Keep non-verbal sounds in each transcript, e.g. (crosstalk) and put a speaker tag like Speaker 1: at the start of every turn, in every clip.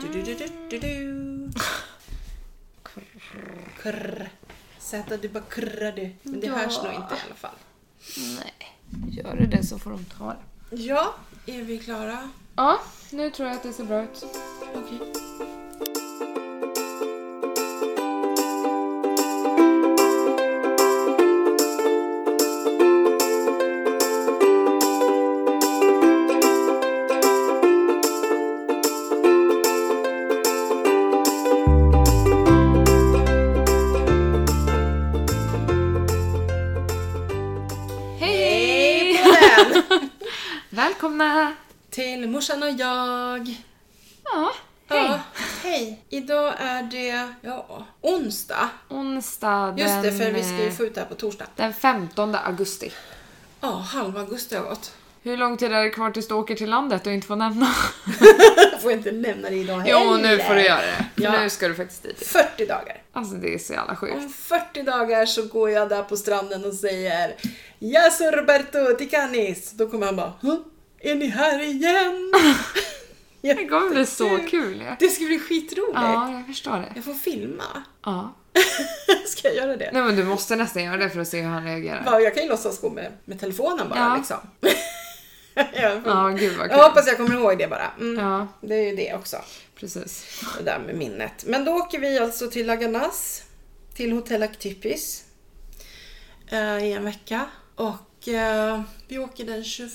Speaker 1: Du, du, du, du, du, du. Kurr. Sätta, du bara kurrar du. Men det
Speaker 2: Ja.
Speaker 1: hörs nog inte i alla fall.
Speaker 2: Nej. Gör det det så får de ta det.
Speaker 1: Ja, är vi klara?
Speaker 2: Ja, nu tror jag att det ser bra ut.
Speaker 1: Okej.
Speaker 2: Hej!
Speaker 1: (laughs)
Speaker 2: Välkomna!
Speaker 1: Till morsan och jag.
Speaker 2: Ja, hej!
Speaker 1: Ja, hej. Idag är det ja, onsdag.
Speaker 2: Onsdag den,
Speaker 1: Just det, för vi ska ju
Speaker 2: eh,
Speaker 1: få ut det här på torsdag.
Speaker 2: den 15 augusti.
Speaker 1: Ja, halva augusti har (laughs) gått.
Speaker 2: Hur lång tid är det kvar tills du åker till landet och inte får nämna?
Speaker 1: får inte nämna det idag
Speaker 2: (laughs) jo, nu får du göra det. För
Speaker 1: Ja.
Speaker 2: Nu ska du faktiskt dit.
Speaker 1: 40 dagar.
Speaker 2: Alltså det är så jävla sjukt.
Speaker 1: Om 40 dagar så går jag där på stranden och säger Yes Roberto Ticanis. Då kommer han bara "Hå? Är ni här
Speaker 2: (laughs)
Speaker 1: igen?
Speaker 2: Det kommer bli så kul ju.
Speaker 1: Det ska bli skitroligt.
Speaker 2: Ja, jag förstår det.
Speaker 1: Jag får filma. (laughs)
Speaker 2: Ja.
Speaker 1: ska jag göra det?
Speaker 2: Nej men du måste nästan göra det för att se hur han reagerar.
Speaker 1: Bara, jag kan ju låtsas gå med, med telefonen bara
Speaker 2: Ja.
Speaker 1: liksom. (laughs) jag,
Speaker 2: Ja, gud vad kul.
Speaker 1: jag hoppas jag kommer ihåg det bara. Mm.
Speaker 2: Ja,
Speaker 1: Det är ju det också.
Speaker 2: precis.
Speaker 1: Det där med minnet. Men då åker vi alltså till Laganas, till Hotell Actipis eh, i en vecka. Och eh, vi åker den 25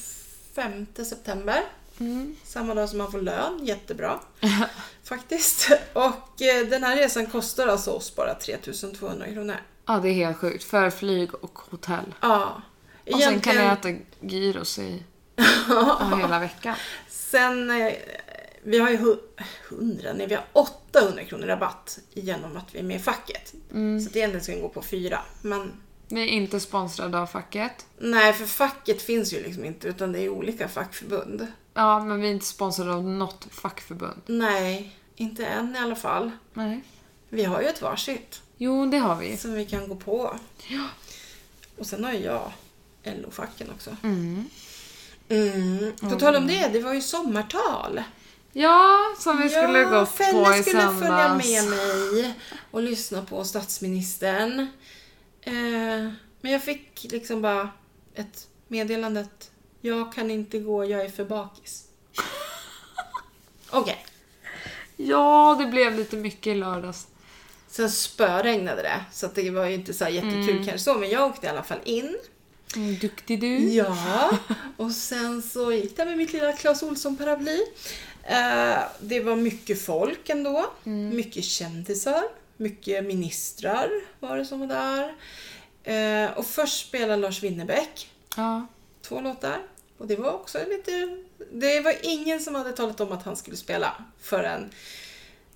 Speaker 1: september.
Speaker 2: Mm.
Speaker 1: Samma dag som man får lön,
Speaker 2: (laughs)
Speaker 1: jättebra. Faktiskt. Och eh, den här resan kostar alltså oss bara 3200 kronor.
Speaker 2: Ja, det är helt sjukt. För flyg och hotell.
Speaker 1: Ja.
Speaker 2: Och sen kan
Speaker 1: Egentligen-
Speaker 2: jag äta gyros i (laughs) ja, hela veckan.
Speaker 1: Sen, eh, vi har ju hu- 100, nej vi har 800 kronor rabatt genom att vi är med i facket.
Speaker 2: Mm.
Speaker 1: Så det egentligen ska gå på fyra. Men
Speaker 2: Vi är inte sponsrade av facket.
Speaker 1: nej, för facket finns ju liksom inte utan det är olika fackförbund.
Speaker 2: Ja, men vi är inte sponsrade av något fackförbund.
Speaker 1: Nej, inte än i alla fall.
Speaker 2: Nej.
Speaker 1: Vi har ju ett varsitt
Speaker 2: Jo, det har vi.
Speaker 1: som vi kan gå på. Och sen har ju jag LO-facken också.
Speaker 2: Mm.
Speaker 1: Mm. På tal om det, det var ju sommartal.
Speaker 2: Ja, som vi skulle
Speaker 1: ja,
Speaker 2: gått på i
Speaker 1: skulle följa
Speaker 2: söndags.
Speaker 1: med mig och lyssna på statsministern. Eh, men jag fick liksom bara ett meddelande att jag kan inte gå, jag är för bakis. Okej,
Speaker 2: Ja, det blev lite mycket i lördags.
Speaker 1: sen spöregnade det så att det var ju inte så här jättekul kanske så, men jag åkte i alla fall in.
Speaker 2: Mm, duktig du.
Speaker 1: Ja, och sen så gick jag med mitt lilla Clas Ohlson-paraply. Eh, det var mycket folk ändå.
Speaker 2: Mm.
Speaker 1: Mycket kändisar. Mycket ministrar var det som var där. Eh, och först spelade Lars Winnerbäck
Speaker 2: Ja.
Speaker 1: två låtar. Och det var också lite... Det var ingen som hade talat om att han skulle spela förrän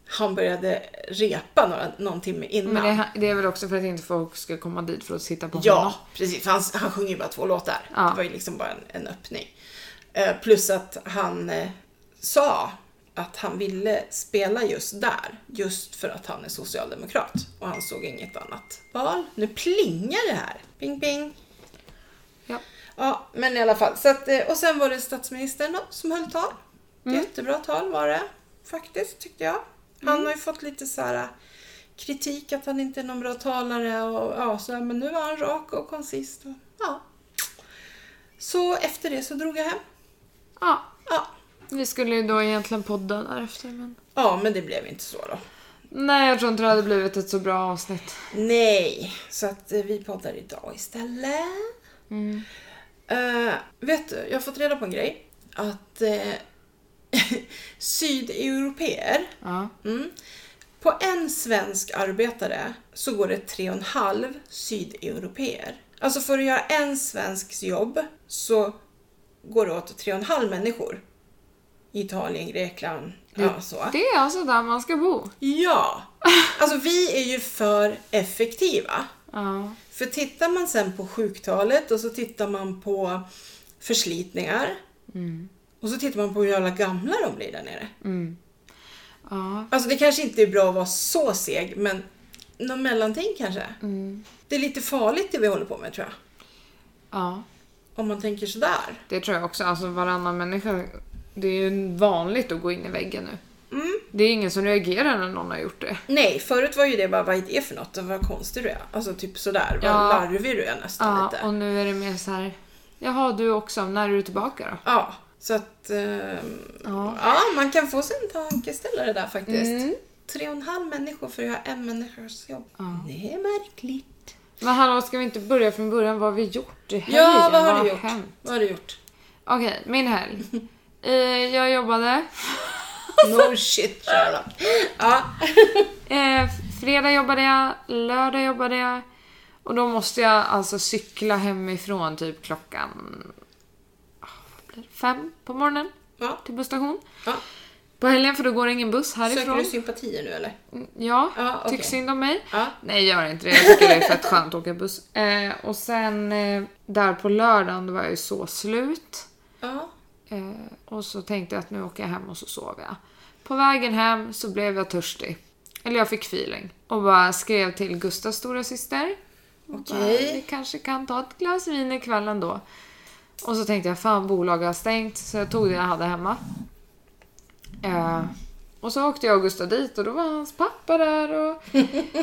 Speaker 1: han började repa några, någon timme innan.
Speaker 2: Men det, det är väl också för att inte folk ska komma dit för att sitta på honom.
Speaker 1: Ja, precis. För han, han sjunger ju bara två låtar.
Speaker 2: Ja.
Speaker 1: Det var ju liksom bara en, en öppning. Eh, plus att han eh, sa att han ville spela just där. Just för att han är socialdemokrat. Och han såg inget annat val. Nu plingar det här. Ping, ping.
Speaker 2: Ja.
Speaker 1: Ja, men i alla fall. Så att, eh, och sen var det statsministern då, som höll tal. Jättebra tal var det faktiskt, tyckte jag. Han har ju fått lite så här eh, kritik att han inte är någon bra talare och ja, så här, men nu var han rak och konsist. Och, ja. Så efter det så drog jag hem.
Speaker 2: ja.
Speaker 1: Ja.
Speaker 2: Vi skulle ju då egentligen podda därefter men...
Speaker 1: ja, men det blev inte så då.
Speaker 2: Nej, jag tror inte det hade blivit ett så bra avsnitt.
Speaker 1: Nej, så att eh, vi poddar idag istället. Eh, vet du, jag har fått reda på en grej. Att eh, (laughs) sydeuropeer,
Speaker 2: Ja.
Speaker 1: mm, på en svensk arbetare så går det tre och en halv sydeuropeer. Alltså för att göra en svensks jobb så går det åt tre och en halv människor. Italien, Grekland,
Speaker 2: Mm.
Speaker 1: ja så.
Speaker 2: Det är alltså där man ska bo.
Speaker 1: Ja! Alltså vi är ju för effektiva.
Speaker 2: Ja.
Speaker 1: För tittar man sen på sjuktalet och så tittar man på förslitningar
Speaker 2: Mm.
Speaker 1: och så tittar man på hur jävla gamla de blir där nere.
Speaker 2: Ja.
Speaker 1: Alltså det kanske inte är bra att vara så seg men någon mellanting kanske.
Speaker 2: Mm.
Speaker 1: Det är lite farligt det vi håller på med tror jag.
Speaker 2: Ja.
Speaker 1: Om man tänker sådär.
Speaker 2: Det tror jag också. Alltså varannan människa det är ju vanligt att gå in i väggen nu.
Speaker 1: Mm.
Speaker 2: Det är ingen som reagerar när någon har gjort det.
Speaker 1: Nej, förut var ju det bara vad är det för något? Och Vad konstig du är. Alltså typ sådär. Vad
Speaker 2: Ja.
Speaker 1: larvig du är nästan
Speaker 2: Ja,
Speaker 1: lite.
Speaker 2: och nu är det mer så här. Jaha, du också. När är du tillbaka då?
Speaker 1: Ja, så att... ehm,
Speaker 2: Ja.
Speaker 1: ja, man kan få sig en tankeställare där faktiskt.
Speaker 2: Mm.
Speaker 1: Tre och en halv människor för att göra en människas jobb.
Speaker 2: Ja.
Speaker 1: Det är märkligt.
Speaker 2: Men hallå, ska vi inte börja från början? Vad har vi gjort i helgen?
Speaker 1: Ja, vad har du gjort?
Speaker 2: hänt?
Speaker 1: Vad har du
Speaker 2: (laughs)
Speaker 1: gjort?
Speaker 2: Okej, min helg. (laughs) Eh, jag jobbade.
Speaker 1: No shit Sherlock. Ja.
Speaker 2: Eh, fredag jobbade jag, lördag jobbade jag. Och då måste jag alltså cykla hemifrån typ klockan ah, vad blir det? fem på morgonen
Speaker 1: ja.
Speaker 2: till busstation.
Speaker 1: ja.
Speaker 2: På helgen för då går det ingen buss
Speaker 1: Söker
Speaker 2: härifrån. Mm,
Speaker 1: du sympatier nu eller?
Speaker 2: Ja,
Speaker 1: Ja, okej.
Speaker 2: tyck synd om mig.
Speaker 1: Ja.
Speaker 2: Nej, gör inte det. Jag tycker det är fett skönt att åka buss. Eh, och sen eh, där på lördagen då var jag ju så slut.
Speaker 1: Ja.
Speaker 2: Eh, och så tänkte jag att nu åker jag hem och så sov jag. På vägen hem så blev jag törstig. Eller jag fick feeling. Och bara skrev till Gustavs stora syster. Och bara,
Speaker 1: Okej.
Speaker 2: Vi kanske kan ta ett glas vin ikväll ändå. Och så tänkte jag fan bolaget har stängt. Så jag tog det jag hade hemma. Eh, och så åkte jag och Gustav dit och då var hans pappa där och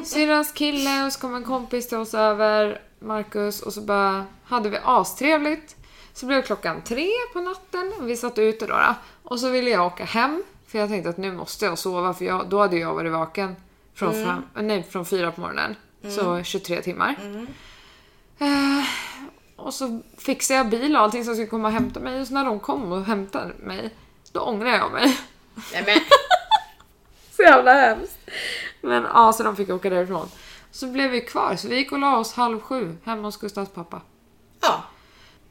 Speaker 2: syrrans kille och så kom en kompis till oss över, Marcus, och så bara hade vi astrevligt. Så blev klockan tre på natten och vi satt ute då, då. Och så ville jag åka hem för jag tänkte att nu måste jag sova för jag, då hade jag varit vaken från, fram, nej, från fyra på morgonen. Så 23 timmar. Eh, och så fixade jag bil och allting som skulle komma och hämta mig och så när de kom och hämtade mig då ångrade jag mig. (laughs)
Speaker 1: Nej men.
Speaker 2: Så jävla hemskt. Men ja, så de fick åka därifrån. Så blev vi kvar, så vi gick och la oss halv sju hemma hos Gustavs pappa.
Speaker 1: Ja.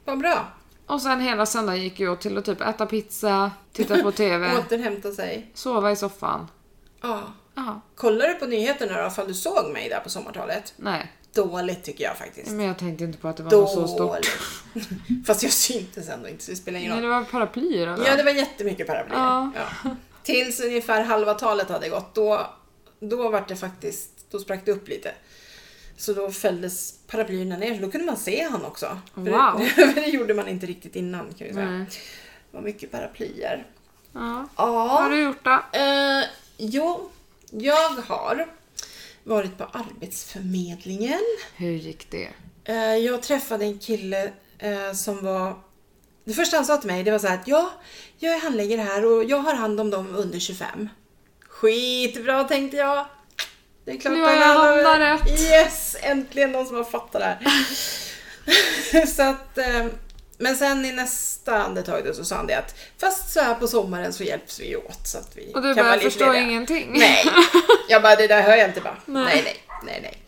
Speaker 1: Vad bra.
Speaker 2: Och sen hela söndagen gick jag till att typ äta pizza, titta
Speaker 1: (laughs)
Speaker 2: på TV,
Speaker 1: Återhämta sig.
Speaker 2: sova i soffan.
Speaker 1: Ja.
Speaker 2: Ja,
Speaker 1: Kollar du på nyheterna då ifall du såg mig där på sommartalet?
Speaker 2: nej.
Speaker 1: Dåligt tycker jag faktiskt.
Speaker 2: Men jag tänkte inte på att det var något så stort.
Speaker 1: Dåligt. (laughs) Fast jag syntes ändå inte så det spelar ingen
Speaker 2: Nej,
Speaker 1: roll.
Speaker 2: det var paraplyer
Speaker 1: Ja, det
Speaker 2: överallt.
Speaker 1: var jättemycket paraplyer.
Speaker 2: Ja.
Speaker 1: Ja. Tills ungefär halva talet hade gått, då, då var det faktiskt, då sprack det upp lite. Så då fälldes paraplyerna ner, så då kunde man se han också. För
Speaker 2: Wow.
Speaker 1: Det, (laughs) för det gjorde man inte riktigt innan kan jag säga.
Speaker 2: Nej.
Speaker 1: Det var mycket paraplyer.
Speaker 2: Ja. Vad har
Speaker 1: Ja,
Speaker 2: du gjort då?
Speaker 1: eh, jo, jag har varit på Arbetsförmedlingen.
Speaker 2: Hur gick det?
Speaker 1: Eh, Jag träffade en kille eh, som var... Det första han sa till mig det var så här att ja, jag är handläggare här och jag har hand om dem under 25. Skitbra tänkte jag. Det är klart
Speaker 2: Nu har jag
Speaker 1: han har-
Speaker 2: hamnat rätt.
Speaker 1: Yes! Äntligen någon som har fattat det här. (laughs) så att, eh, men sen i nästa andetag då så sa han det att fast så här på sommaren så hjälps vi åt så att vi
Speaker 2: Och
Speaker 1: kan vara
Speaker 2: du bara, jag
Speaker 1: lite
Speaker 2: förstår
Speaker 1: lediga."
Speaker 2: ingenting.
Speaker 1: Nej.
Speaker 2: (laughs)
Speaker 1: (laughs) Jag bara, det där hör jag inte bara.
Speaker 2: Nej.
Speaker 1: Nej, nej, nej. nej,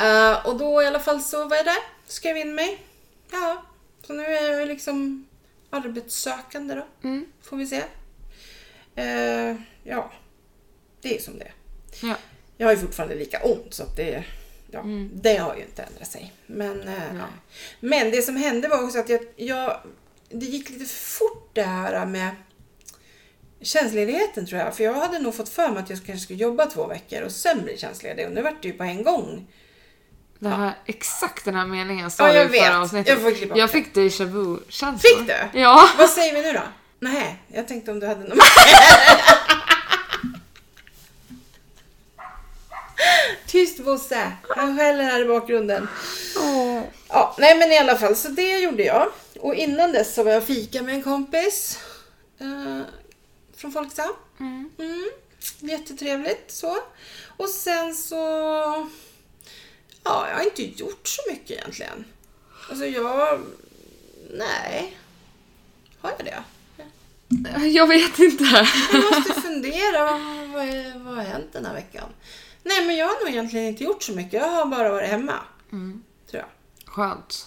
Speaker 1: Eh, och då i alla fall så var jag där, skrev in mig. Ja, så nu är jag ju liksom arbetssökande då.
Speaker 2: Mm.
Speaker 1: Får vi se. Eh, ja, det är som det är.
Speaker 2: Ja.
Speaker 1: Jag har ju fortfarande lika ont så att det, ja, det har ju inte ändrat sig. Men, eh,
Speaker 2: Mm. Ja.
Speaker 1: men det som hände var också att jag, jag, det gick lite för fort det här med tjänstledigheten tror jag. För jag hade nog fått för mig att jag kanske skulle jobba två veckor och sen bli tjänstledig. Och nu vart det ju på en gång.
Speaker 2: Det här, Exakt den här meningen sa
Speaker 1: Ja, jag
Speaker 2: du i förra
Speaker 1: vet.
Speaker 2: avsnittet.
Speaker 1: Jag får klippa bort
Speaker 2: jag fick déjà vu-känslor.
Speaker 1: Fick du?
Speaker 2: Ja.
Speaker 1: Vad säger vi nu då? Nej, jag tänkte om du hade någon...
Speaker 2: (laughs)
Speaker 1: Tyst Bosse! Han skäller här i bakgrunden.
Speaker 2: Åh.
Speaker 1: Ja, nej men i alla fall, så det gjorde jag. Och innan dess så var jag och fika med en kompis. Eh, från Folksam.
Speaker 2: Mm.
Speaker 1: Mm, jättetrevligt så. Och sen så... Ja, jag har inte gjort så mycket egentligen. Alltså jag... Nej. Har jag det?
Speaker 2: Jag vet inte.
Speaker 1: Jag måste fundera. vad- Vad, är- vad har hänt den här veckan? Nej, men jag har nog egentligen inte gjort så mycket. Jag har bara varit hemma. Tror jag.
Speaker 2: Skönt.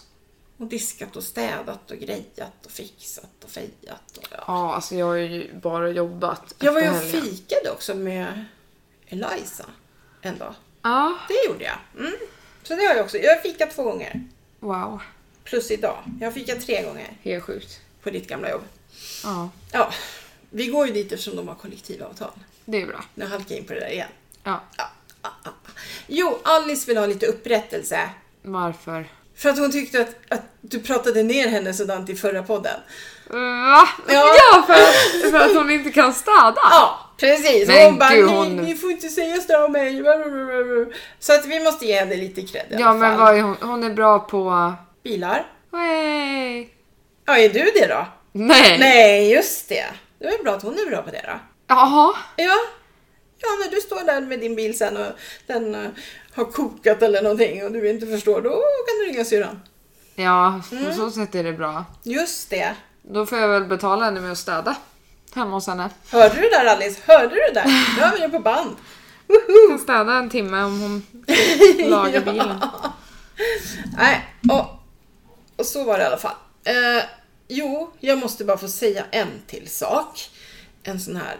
Speaker 1: Och diskat och städat och grejat och fixat och fejat. Och, ja.
Speaker 2: Ja, alltså jag har ju bara jobbat
Speaker 1: Jag var ju
Speaker 2: efter
Speaker 1: och
Speaker 2: helgen.
Speaker 1: fikade också med Eliza en dag.
Speaker 2: Ja,
Speaker 1: Det gjorde jag. Mm. Så det har jag också. Jag har fikat två gånger.
Speaker 2: wow.
Speaker 1: Plus idag. Jag har fikat tre gånger
Speaker 2: Helt sjukt.
Speaker 1: på ditt gamla jobb.
Speaker 2: Ja,
Speaker 1: Ja, vi går ju dit eftersom de har kollektivavtal.
Speaker 2: det är bra.
Speaker 1: Nu halkar jag in på det där igen.
Speaker 2: Ja,
Speaker 1: Ja, ja, ja. Jo, Alice vill ha lite upprättelse.
Speaker 2: varför?
Speaker 1: För att hon tyckte att, att du pratade ner henne sådant i förra podden.
Speaker 2: Va?
Speaker 1: Ja.
Speaker 2: Ja, för, för att hon inte kan städa.
Speaker 1: Ja, precis.
Speaker 2: Men
Speaker 1: hon bara,
Speaker 2: gud,
Speaker 1: "Ni-
Speaker 2: hon-
Speaker 1: ni får inte säga så där om mig. Så att vi måste ge henne lite cred i
Speaker 2: Ja,
Speaker 1: alla
Speaker 2: men
Speaker 1: fall.
Speaker 2: vad är hon? Hon är bra på...
Speaker 1: Bilar.
Speaker 2: Hey.
Speaker 1: Ja, är du det då?
Speaker 2: Nej.
Speaker 1: Nej, just det. Det var ju bra att hon är bra på det då.
Speaker 2: Jaha.
Speaker 1: Ja. Ja, när du står där med din bil sen och den eh, har kokat eller någonting och du inte förstår, då kan du ringa syrran.
Speaker 2: Ja, på så sätt är det bra.
Speaker 1: Just det.
Speaker 2: Då får jag väl betala henne med att städa hemma hos henne.
Speaker 1: Hörde du det där Alice? Hörde du det där? Nu har vi det på band.
Speaker 2: Jag kan städa en timme
Speaker 1: (laughs)
Speaker 2: om hon lagar bilen.
Speaker 1: Nej, och, och så var det i alla fall. Eh, jo, jag måste bara få säga en till sak. En sån här.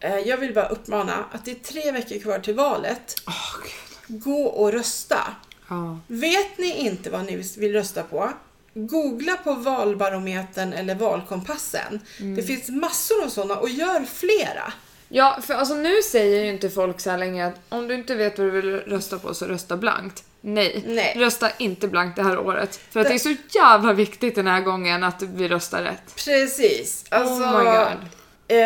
Speaker 1: Eh, jag vill bara uppmana att det är tre veckor kvar till valet.
Speaker 2: Åh, gud.
Speaker 1: Gå och rösta.
Speaker 2: Ja.
Speaker 1: Vet ni inte vad ni vill rösta på? Googla på valbarometern eller valkompassen. Det finns massor av sådana och gör flera.
Speaker 2: Ja, för alltså nu säger ju inte folk så här länge att om du inte vet vad du vill rösta på så rösta blankt. Nej,
Speaker 1: Nej.
Speaker 2: rösta inte blankt det här året. För att det är så jävla viktigt den här gången att vi röstar rätt.
Speaker 1: Precis. Alltså,
Speaker 2: Oh my God.
Speaker 1: Eh,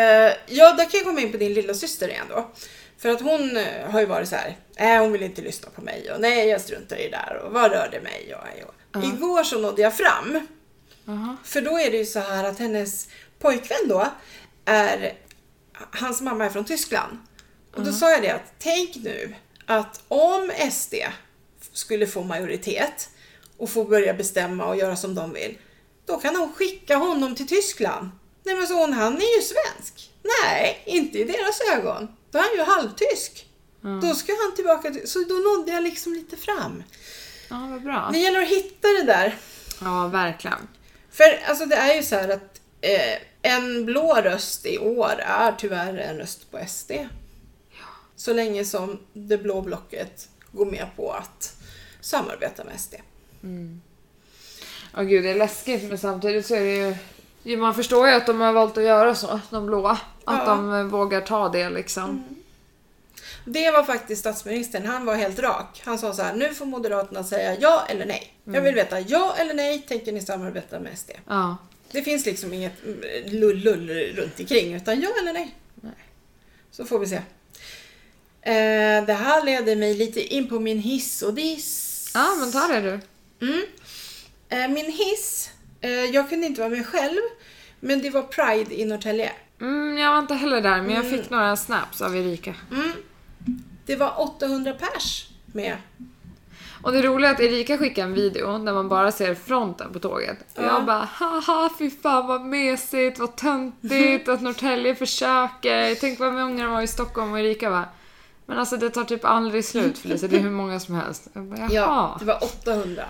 Speaker 1: ja, där kan jag komma in på din lilla syster igen då. För att hon eh, har ju varit så här, nej hon vill inte lyssna på mig och nej jag struntar i det där och vad rör det mig och hej och. Igår så nådde jag fram.
Speaker 2: Jaha.
Speaker 1: För då är det ju så här att hennes pojkvän då är, hans mamma är från Tyskland. Och då sa jag det att tänk nu att om SD skulle få majoritet och få börja bestämma och göra som de vill, då kan de skicka honom till Tyskland. Nej men så hon, han är ju svensk. Nej, inte i deras ögon. Då är han ju halvtysk. Då ska han tillbaka till, så då nådde jag liksom lite fram.
Speaker 2: Ja, vad bra.
Speaker 1: Det gäller att hitta det där.
Speaker 2: Ja, verkligen.
Speaker 1: För alltså det är ju så här att eh, en blå röst i år är tyvärr en röst på SD. Så länge som det blå blocket går med på att samarbeta med SD.
Speaker 2: Åh gud, det är läskigt men samtidigt så är det ju... ju man förstår ju att de har valt att göra så, de blåa. Att
Speaker 1: Ja. Mm.
Speaker 2: de eh, vågar ta det liksom.
Speaker 1: Det var faktiskt statsministern, han var helt rak. Han sa så här, nu får Moderaterna säga ja eller nej. Jag vill veta ja eller nej, tänker ni samarbeta med SD?
Speaker 2: Ja.
Speaker 1: Det finns liksom inget mm, lull-lull runt omkring utan ja eller nej.
Speaker 2: Nej.
Speaker 1: Så får vi se. Eh, det här leder mig lite in på min hiss och diss.
Speaker 2: ja, men ta det du.
Speaker 1: Mm. Eh, min hiss, eh, jag kunde inte vara med själv, men det var Pride i Norrtälje.
Speaker 2: Mm, jag var inte heller där men jag fick några snaps av Erika.
Speaker 1: Det var 800 pers med.
Speaker 2: Och det roliga är att Erika skickade en video där man bara ser fronten på tåget. Och
Speaker 1: Ja.
Speaker 2: jag bara haha fy fan vad mesigt, vad töntigt att Norrtälje försöker. Tänk vad många de var i Stockholm och Erika bara men alltså det tar typ aldrig slut Felicia, det är hur många som helst. Jag bara,
Speaker 1: Ja,
Speaker 2: Jaha.
Speaker 1: det var 800.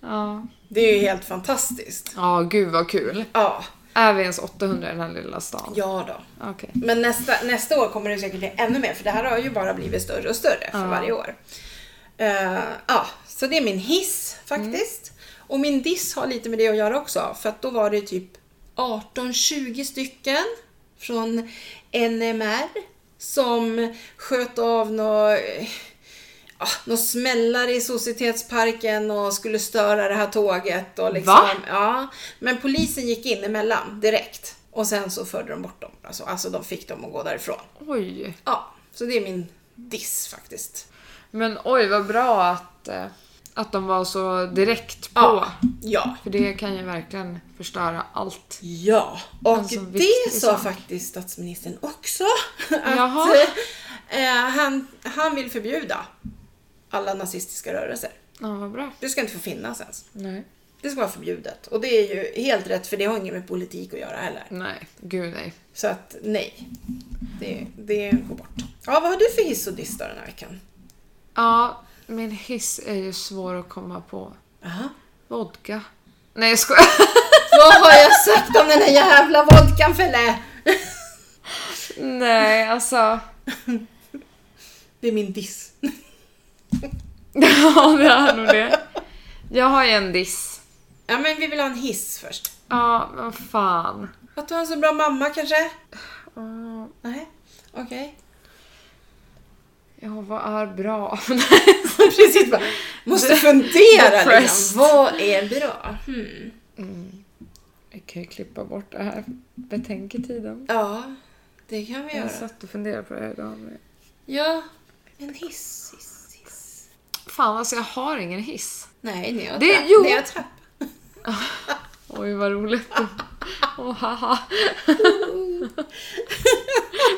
Speaker 2: Ja.
Speaker 1: Det är ju helt fantastiskt.
Speaker 2: Ja, gud vad kul.
Speaker 1: Ja,
Speaker 2: Är vi ens 800 i den här lilla stan?
Speaker 1: ja då.
Speaker 2: Okej.
Speaker 1: Men nästa, nästa år kommer det säkert bli ännu mer för det här har ju bara blivit större och större för
Speaker 2: Ja.
Speaker 1: varje år. Eh, ja, så det är min hiss faktiskt. Och min diss har lite med det att göra också för att då var det typ 18-20 stycken från NMR som sköt av några ah, nå smällar i Societetsparken och skulle störa det här tåget. Och liksom,
Speaker 2: Va?
Speaker 1: Ja, men polisen gick in emellan direkt. Och sen så förde de bort dem. Alltså, alltså de fick dem att gå därifrån.
Speaker 2: Oj.
Speaker 1: Ja, så det är min diss faktiskt.
Speaker 2: Men oj vad bra att, eh, att de var så direkt på.
Speaker 1: Ja. Ja.
Speaker 2: För det kan ju verkligen förstöra allt.
Speaker 1: Ja, och
Speaker 2: En sån
Speaker 1: det sa
Speaker 2: viktig sak.
Speaker 1: faktiskt statsministern också. (laughs)
Speaker 2: Jaha.
Speaker 1: Att eh, han, han vill förbjuda alla nazistiska rörelser.
Speaker 2: Ja, vad bra.
Speaker 1: Det ska inte få finnas ens.
Speaker 2: Nej.
Speaker 1: Det ska vara förbjudet. Och det är ju helt rätt för det har inget med politik att göra heller.
Speaker 2: Nej, gud nej.
Speaker 1: Så att nej, det, det går bort. Ja, vad har du för hiss och diss då den här veckan?
Speaker 2: Ja, min hiss är ju svår att komma på.
Speaker 1: Aha.
Speaker 2: Vodka. Nej jag skojar. (laughs)
Speaker 1: Vad har jag sagt om den här jävla vodkan Felle?
Speaker 2: Nej alltså. (laughs)
Speaker 1: Det är min diss.
Speaker 2: Ja det är nog det. Jag har ju en diss.
Speaker 1: Ja, men vi vill ha en hiss först.
Speaker 2: Ja men vad fan.
Speaker 1: Att du har en så bra mamma kanske?
Speaker 2: Ja,
Speaker 1: Nej, okej. (laughs)
Speaker 2: Ja vad är bra? (laughs)
Speaker 1: Precis bara, måste fundera liksom.
Speaker 2: Depressed.
Speaker 1: Vad är bra? Hmm.
Speaker 2: Vi kan ju klippa bort det här betänketiden.
Speaker 1: Ja, Alltså. det kan vi
Speaker 2: Jag
Speaker 1: göra.
Speaker 2: satt och funderade på det här idag. men-
Speaker 1: Ja. En hiss, hiss, hiss.
Speaker 2: Fan alltså jag har ingen hiss.
Speaker 1: Nej, det är
Speaker 2: Det-
Speaker 1: trapp.
Speaker 2: jo.
Speaker 1: Det är trapp.
Speaker 2: Oj
Speaker 1: (laughs)
Speaker 2: vad roligt. Åh haha.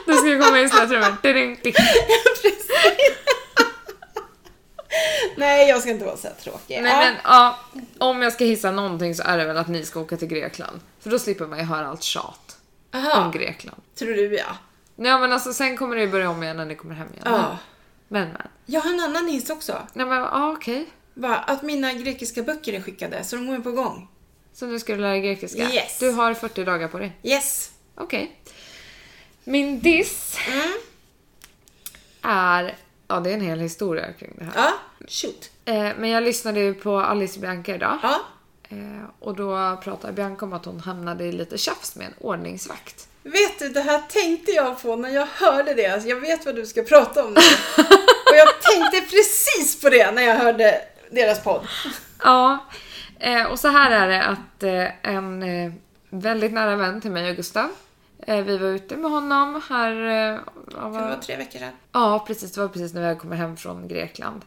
Speaker 2: Det ska komma in sådana trummor. Ding, ding.
Speaker 1: (laughs) Nej, jag ska inte vara så här tråkig.
Speaker 2: Nej
Speaker 1: Ja.
Speaker 2: men ja, om jag ska hissa någonting så är det väl att ni ska åka till Grekland. För då slipper man ju höra allt tjat om
Speaker 1: Aha,
Speaker 2: Grekland.
Speaker 1: tror du ja.
Speaker 2: Nej men alltså sen kommer det ju börja om igen när ni kommer hem igen.
Speaker 1: Ja.
Speaker 2: Men men.
Speaker 1: Jag har en annan hiss också.
Speaker 2: Nej men ja okej.
Speaker 1: Bara att mina grekiska böcker är skickade, så de går ju på gång.
Speaker 2: Så nu ska du lära dig grekiska.
Speaker 1: Yes.
Speaker 2: Du har 40 dagar på dig.
Speaker 1: Yes.
Speaker 2: Okej. Min diss
Speaker 1: Mm.
Speaker 2: är... Ja det är en hel historia kring det här.
Speaker 1: Ja, shoot.
Speaker 2: Eh, men jag lyssnade ju på Alice Bianca idag.
Speaker 1: Ja.
Speaker 2: Eh, och då pratade Bianca om att hon hamnade i lite tjafs med en ordningsvakt.
Speaker 1: Vet du, det här tänkte jag på när jag hörde det. Alltså, jag vet vad du ska prata
Speaker 2: (laughs)
Speaker 1: om nu. Och jag tänkte precis på det när jag hörde deras podd.
Speaker 2: Ja, eh, och så här är det att eh, en eh, väldigt nära vän till mig och Gustav, eh, vi var ute med honom här... Eh, ja,
Speaker 1: Det var
Speaker 2: var,
Speaker 1: tre veckor sedan.
Speaker 2: ja, precis. Det var precis när jag kom hem från Grekland.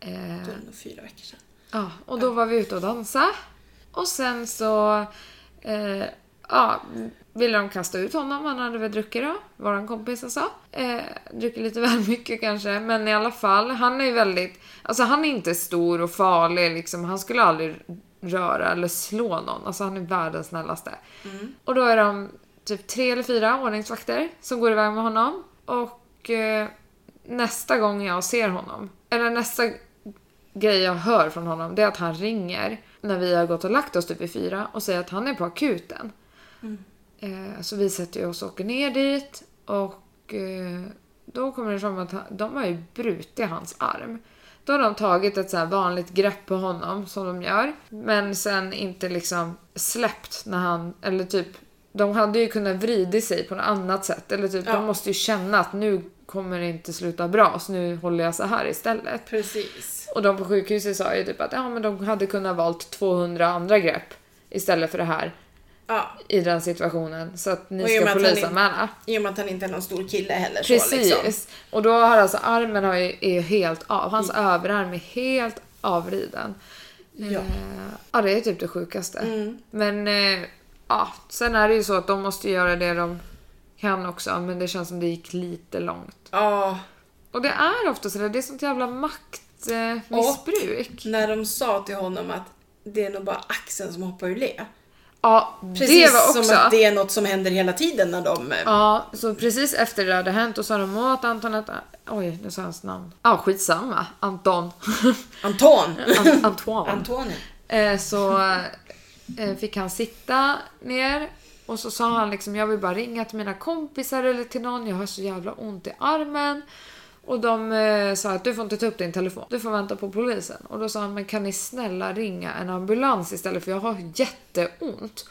Speaker 2: Eh,
Speaker 1: Det var nog fyra veckor sedan.
Speaker 2: Ja, och då var vi ute och dansa. Och sen så eh, ja, ville de kasta ut honom. Han hade väl druckit då, våran kompis alltså. Eh, druckit lite (laughs) väl mycket kanske, men i alla fall. Han är ju väldigt, alltså han är inte stor och farlig liksom. Han skulle aldrig röra eller slå någon. Alltså han är världens snällaste. Och då är de typ tre eller fyra ordningsvakter som går iväg med honom. Och eh, nästa gång jag ser honom, eller nästa grej jag hör från honom det är att han ringer när vi har gått och lagt oss typ vid fyra och säger att han är på akuten. Eh, så vi sätter ju oss och åker ner dit och eh, då kommer det fram att han, de har ju brutit hans arm. Då har de tagit ett så här vanligt grepp på honom som de gör men sen inte liksom släppt när han, eller typ de hade ju kunnat vrida sig på något annat sätt eller typ
Speaker 1: Ja.
Speaker 2: de måste ju känna att nu kommer det inte sluta bra så nu håller jag så här istället.
Speaker 1: Precis.
Speaker 2: Och de på sjukhuset sa ju typ att ja, men de hade kunnat valt 200 andra grepp istället för det här
Speaker 1: Ja,
Speaker 2: i den situationen. Så att ni
Speaker 1: Och i och med
Speaker 2: ska
Speaker 1: att han
Speaker 2: polisanmäla.
Speaker 1: i och med att han inte är någon stor kille heller. Så,
Speaker 2: Precis.
Speaker 1: liksom.
Speaker 2: Och då har alltså armen har ju, är helt av. Hans
Speaker 1: Mm.
Speaker 2: överarm är helt avriden.
Speaker 1: Ja.
Speaker 2: Eh, ja, det är typ det sjukaste.
Speaker 1: Mm.
Speaker 2: Men eh, ja, sen är det ju så att de måste göra det de kan också. Men det känns som det gick lite långt.
Speaker 1: Ja,
Speaker 2: Och det är ofta så där, det är sånt jävla maktmissbruk. Eh,
Speaker 1: Och-
Speaker 2: missbruk.
Speaker 1: när de sa till honom att det är nog bara axeln som hoppar ur led.
Speaker 2: Ja,
Speaker 1: Precis
Speaker 2: det var också...
Speaker 1: som att det är något som händer hela tiden när de... eh,
Speaker 2: Ja, så precis efter det hade hänt och sa de åt Anton att... Oj, nu sa jag hans namn. Ja, ah, skitsamma. (laughs) Anton.
Speaker 1: Anton!
Speaker 2: An- Antoine.
Speaker 1: Antoni.
Speaker 2: Eh, så eh, fick han sitta ner och så sa han liksom jag vill bara ringa till mina kompisar eller till någon. Jag har så jävla ont i armen. Och de eh, sa att du får inte ta upp din telefon. Du får vänta på polisen. Och då sa han men kan ni snälla ringa en ambulans istället för jag har jätteont.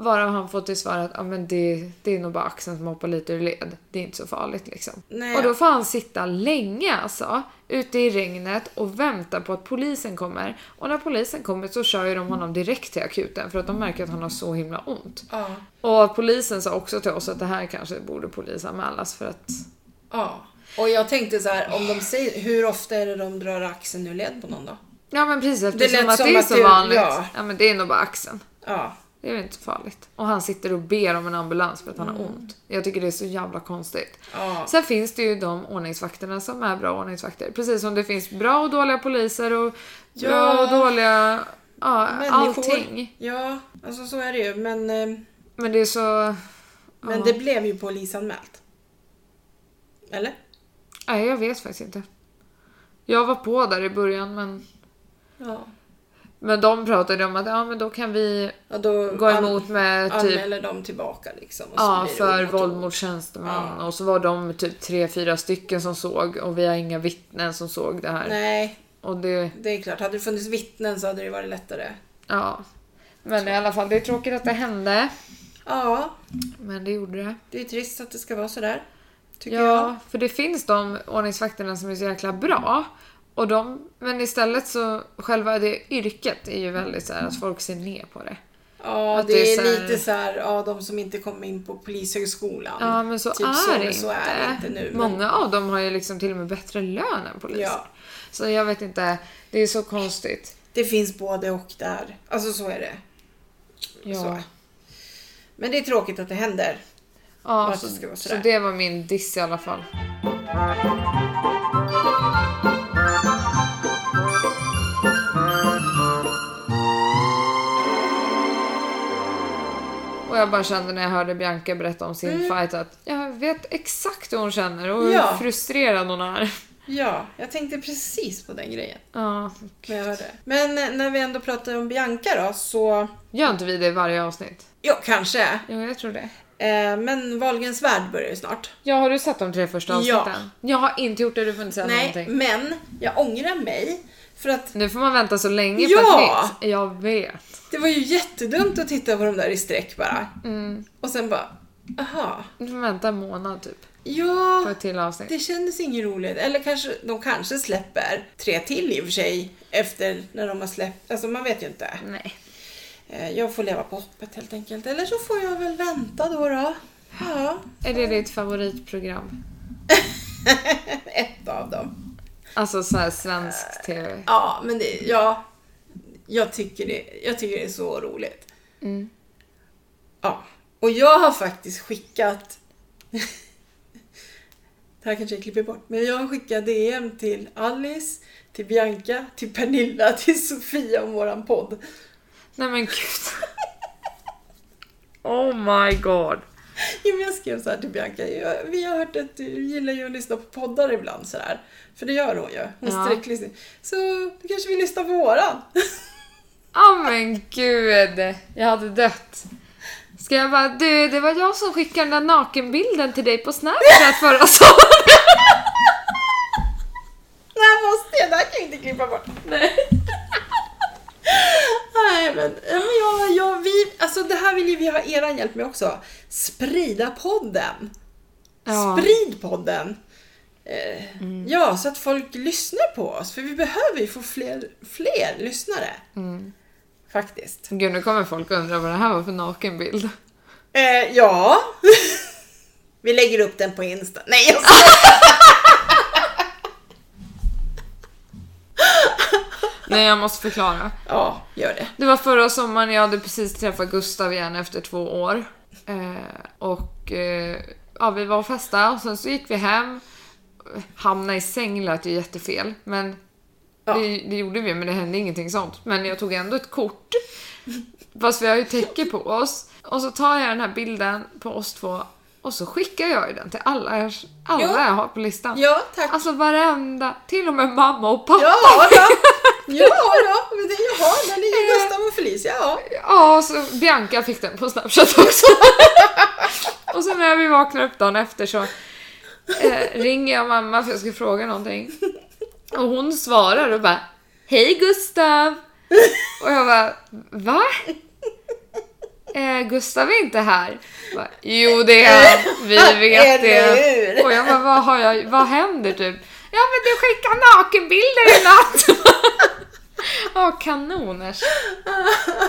Speaker 2: Varav han fått till svar att ja, men det, det är nog bara axeln som hoppar lite ur led. Det är inte så farligt liksom.
Speaker 1: Nej.
Speaker 2: Och då får han sitta länge alltså, ute i regnet och vänta på att polisen kommer. Och när polisen kommer så kör ju de honom direkt till akuten för att de märker att han har så himla ont.
Speaker 1: Ja.
Speaker 2: Och polisen sa också till oss att det här kanske borde polisanmälas för att...
Speaker 1: Ja. Och jag tänkte så här, om de säger, hur ofta är det de drar axeln ur led på någon då?
Speaker 2: Ja men precis
Speaker 1: lät
Speaker 2: eftersom att
Speaker 1: som
Speaker 2: det är
Speaker 1: att
Speaker 2: så
Speaker 1: det-
Speaker 2: vanligt. Ja.
Speaker 1: ja.
Speaker 2: men det är nog bara axeln.
Speaker 1: Ja.
Speaker 2: Det är väl inte så farligt. Och han sitter och ber om en ambulans för att han har ont. Jag tycker det är så jävla konstigt.
Speaker 1: Mm. Ja.
Speaker 2: Sen finns det ju de ordningsvakterna som är bra ordningsvakter. Precis som det finns bra och dåliga poliser och bra
Speaker 1: Ja.
Speaker 2: och dåliga... Ja, allting.
Speaker 1: Ja, alltså så är det ju. Men, eh,
Speaker 2: Men det är så...
Speaker 1: men
Speaker 2: ja.
Speaker 1: det blev ju polisanmält. Eller?
Speaker 2: Nej, jag vet faktiskt inte. Jag var på där i början men...
Speaker 1: Ja.
Speaker 2: Men de pratade om att ja, men då kan vi
Speaker 1: Och då
Speaker 2: gå emot med
Speaker 1: an,
Speaker 2: typ
Speaker 1: anmäler de tillbaka liksom. Och så
Speaker 2: Ja,
Speaker 1: blir det
Speaker 2: för
Speaker 1: ord mot ord.
Speaker 2: våld mot tjänsteman. Och så var de typ tre, fyra stycken som såg och vi har inga vittnen som såg det här.
Speaker 1: Nej,
Speaker 2: Och det,
Speaker 1: det är klart. Hade det funnits vittnen så hade det varit lättare.
Speaker 2: ja. Men i alla fall, det är tråkigt att det hände.
Speaker 1: Ja,
Speaker 2: Men det gjorde det.
Speaker 1: det är trist att det ska vara sådär. Tycker jag.
Speaker 2: Ja, för det finns de ordningsvakterna som är så jäkla bra. Och de, men istället så, själva det yrket är ju väldigt så här att folk ser ner på det.
Speaker 1: Ja,
Speaker 2: Att
Speaker 1: det,
Speaker 2: det är
Speaker 1: är,
Speaker 2: så här-
Speaker 1: lite så här, ja, de som inte kom in på Polishögskolan.
Speaker 2: Ja, men så,
Speaker 1: Typ
Speaker 2: är,
Speaker 1: så,
Speaker 2: det
Speaker 1: så är det inte nu, men-
Speaker 2: Många av dem har ju liksom till och med bättre lön än poliser.
Speaker 1: Ja.
Speaker 2: Så jag vet inte, det är så konstigt.
Speaker 1: Det finns både och där. Alltså så är det.
Speaker 2: Ja,
Speaker 1: Så. Men det är tråkigt att det händer.
Speaker 2: ja
Speaker 1: Varför
Speaker 2: så,
Speaker 1: ska det vara
Speaker 2: så
Speaker 1: sådär?
Speaker 2: det var min diss i alla fall. Och jag bara kände när jag hörde Bianca berätta om sin fight att jag vet exakt hur hon känner och hur
Speaker 1: Mm. Ja.
Speaker 2: frustrerad hon är. (laughs)
Speaker 1: Ja, jag tänkte precis på den grejen.
Speaker 2: Ja,
Speaker 1: När jag hörde. Men eh, när vi ändå pratar om Bianca då så...
Speaker 2: Gör inte vi det i varje avsnitt?
Speaker 1: Ja, kanske.
Speaker 2: Jo, jag tror det.
Speaker 1: Eh, men Wahlgrens värld börjar ju snart.
Speaker 2: Ja, har du sett de tre första
Speaker 1: Ja.
Speaker 2: avsnitten? Jag har inte gjort det, du får inte säga
Speaker 1: Nej,
Speaker 2: någonting.
Speaker 1: men jag ångrar mig. För att
Speaker 2: Nu får man vänta så länge på
Speaker 1: Ja!
Speaker 2: ett nytt. Jag vet.
Speaker 1: det var ju jättedumt att titta på de där i sträck bara.
Speaker 2: Mm.
Speaker 1: Och sen bara, aha.
Speaker 2: Du får vänta en månad typ på
Speaker 1: Ja,
Speaker 2: ett till avsnitt.
Speaker 1: det kändes inget roligt. Eller kanske, de kanske släpper tre till i och för sig efter när de har släppt. Alltså man vet ju inte.
Speaker 2: Nej.
Speaker 1: Eh, Jag får leva på hoppet helt enkelt. Eller så får jag väl vänta då då. Ja,
Speaker 2: Är det ditt favoritprogram?
Speaker 1: ett av dem.
Speaker 2: Alltså så här svensk TV.
Speaker 1: Ja, men det, ja, jag, tycker det, jag tycker det är så roligt.
Speaker 2: Mm.
Speaker 1: Ja. Och jag har faktiskt skickat... (laughs) det här kanske jag klipper bort. Men jag har skickat DM till Alice, till Bianca, till Pernilla, (laughs) till Sofia om våran podd.
Speaker 2: Nej men gud. (laughs) Oh my god.
Speaker 1: Ja, men Jag skrev så här till Bianca, jag, vi har hört att du gillar ju att lyssna på poddar ibland sådär. För det gör hon ju. Hon
Speaker 2: Ja.
Speaker 1: sträcklyssnar. Så du kanske vill lyssna på våran? (laughs)
Speaker 2: Ja men gud, jag hade dött. Ska jag bara, du det var jag som skickade den där nakenbilden till dig på Snapchat förra (laughs) sommaren.
Speaker 1: Det här måste jag, det här kan jag inte klippa bort. Nej. (laughs) Nej men, ja, men jag, jag, vi, alltså det här vill ju vi ha er hjälp med också. Sprida podden.
Speaker 2: Ja.
Speaker 1: Sprid podden. Eh, Ja, så att folk lyssnar på oss. För vi behöver ju få fler, fler lyssnare. Mm. Faktiskt.
Speaker 2: Gud, nu kommer folk undra vad det här var för nakenbild.
Speaker 1: Eh, ja. (laughs) vi lägger upp den på Insta. Nej, jag skojar.
Speaker 2: Nej, jag måste förklara.
Speaker 1: Ja, gör det.
Speaker 2: Det var förra sommaren, jag hade precis träffat Gustav igen efter två år. Eh, och eh, ja, vi var och festade och sen så gick vi hem. Hamna i säng lät ju jättefel, men
Speaker 1: Ja.
Speaker 2: det, det gjorde vi, men det hände ingenting sånt. Men jag tog ändå ett kort. Fast vi har ju täcke på oss. Och så tar jag den här bilden på oss två och så skickar jag ju den till alla, er, alla
Speaker 1: Ja.
Speaker 2: jag har på listan.
Speaker 1: Ja, tack.
Speaker 2: Alltså varenda, till och med mamma och pappa.
Speaker 1: Ja (laughs) då! Ja då! Men det, jaha, där ligger Gustav och Felicia. Ja.
Speaker 2: Ja, så Bianca fick den på Snapchat också. och sen när vi vaknar upp dagen efter så eh, ringer jag mamma för jag ska fråga någonting. Och hon svarar och bara Hej Gustav! Och jag bara Va? Eh, Gustav är inte här. Jag Bara, jo det (laughs) är han, vi vet
Speaker 1: Eller
Speaker 2: det.
Speaker 1: hur?
Speaker 2: Och jag bara, vad, har jag, vad händer typ? Ja men du skickar nakenbilder i natt! (laughs) Ja, kanoners.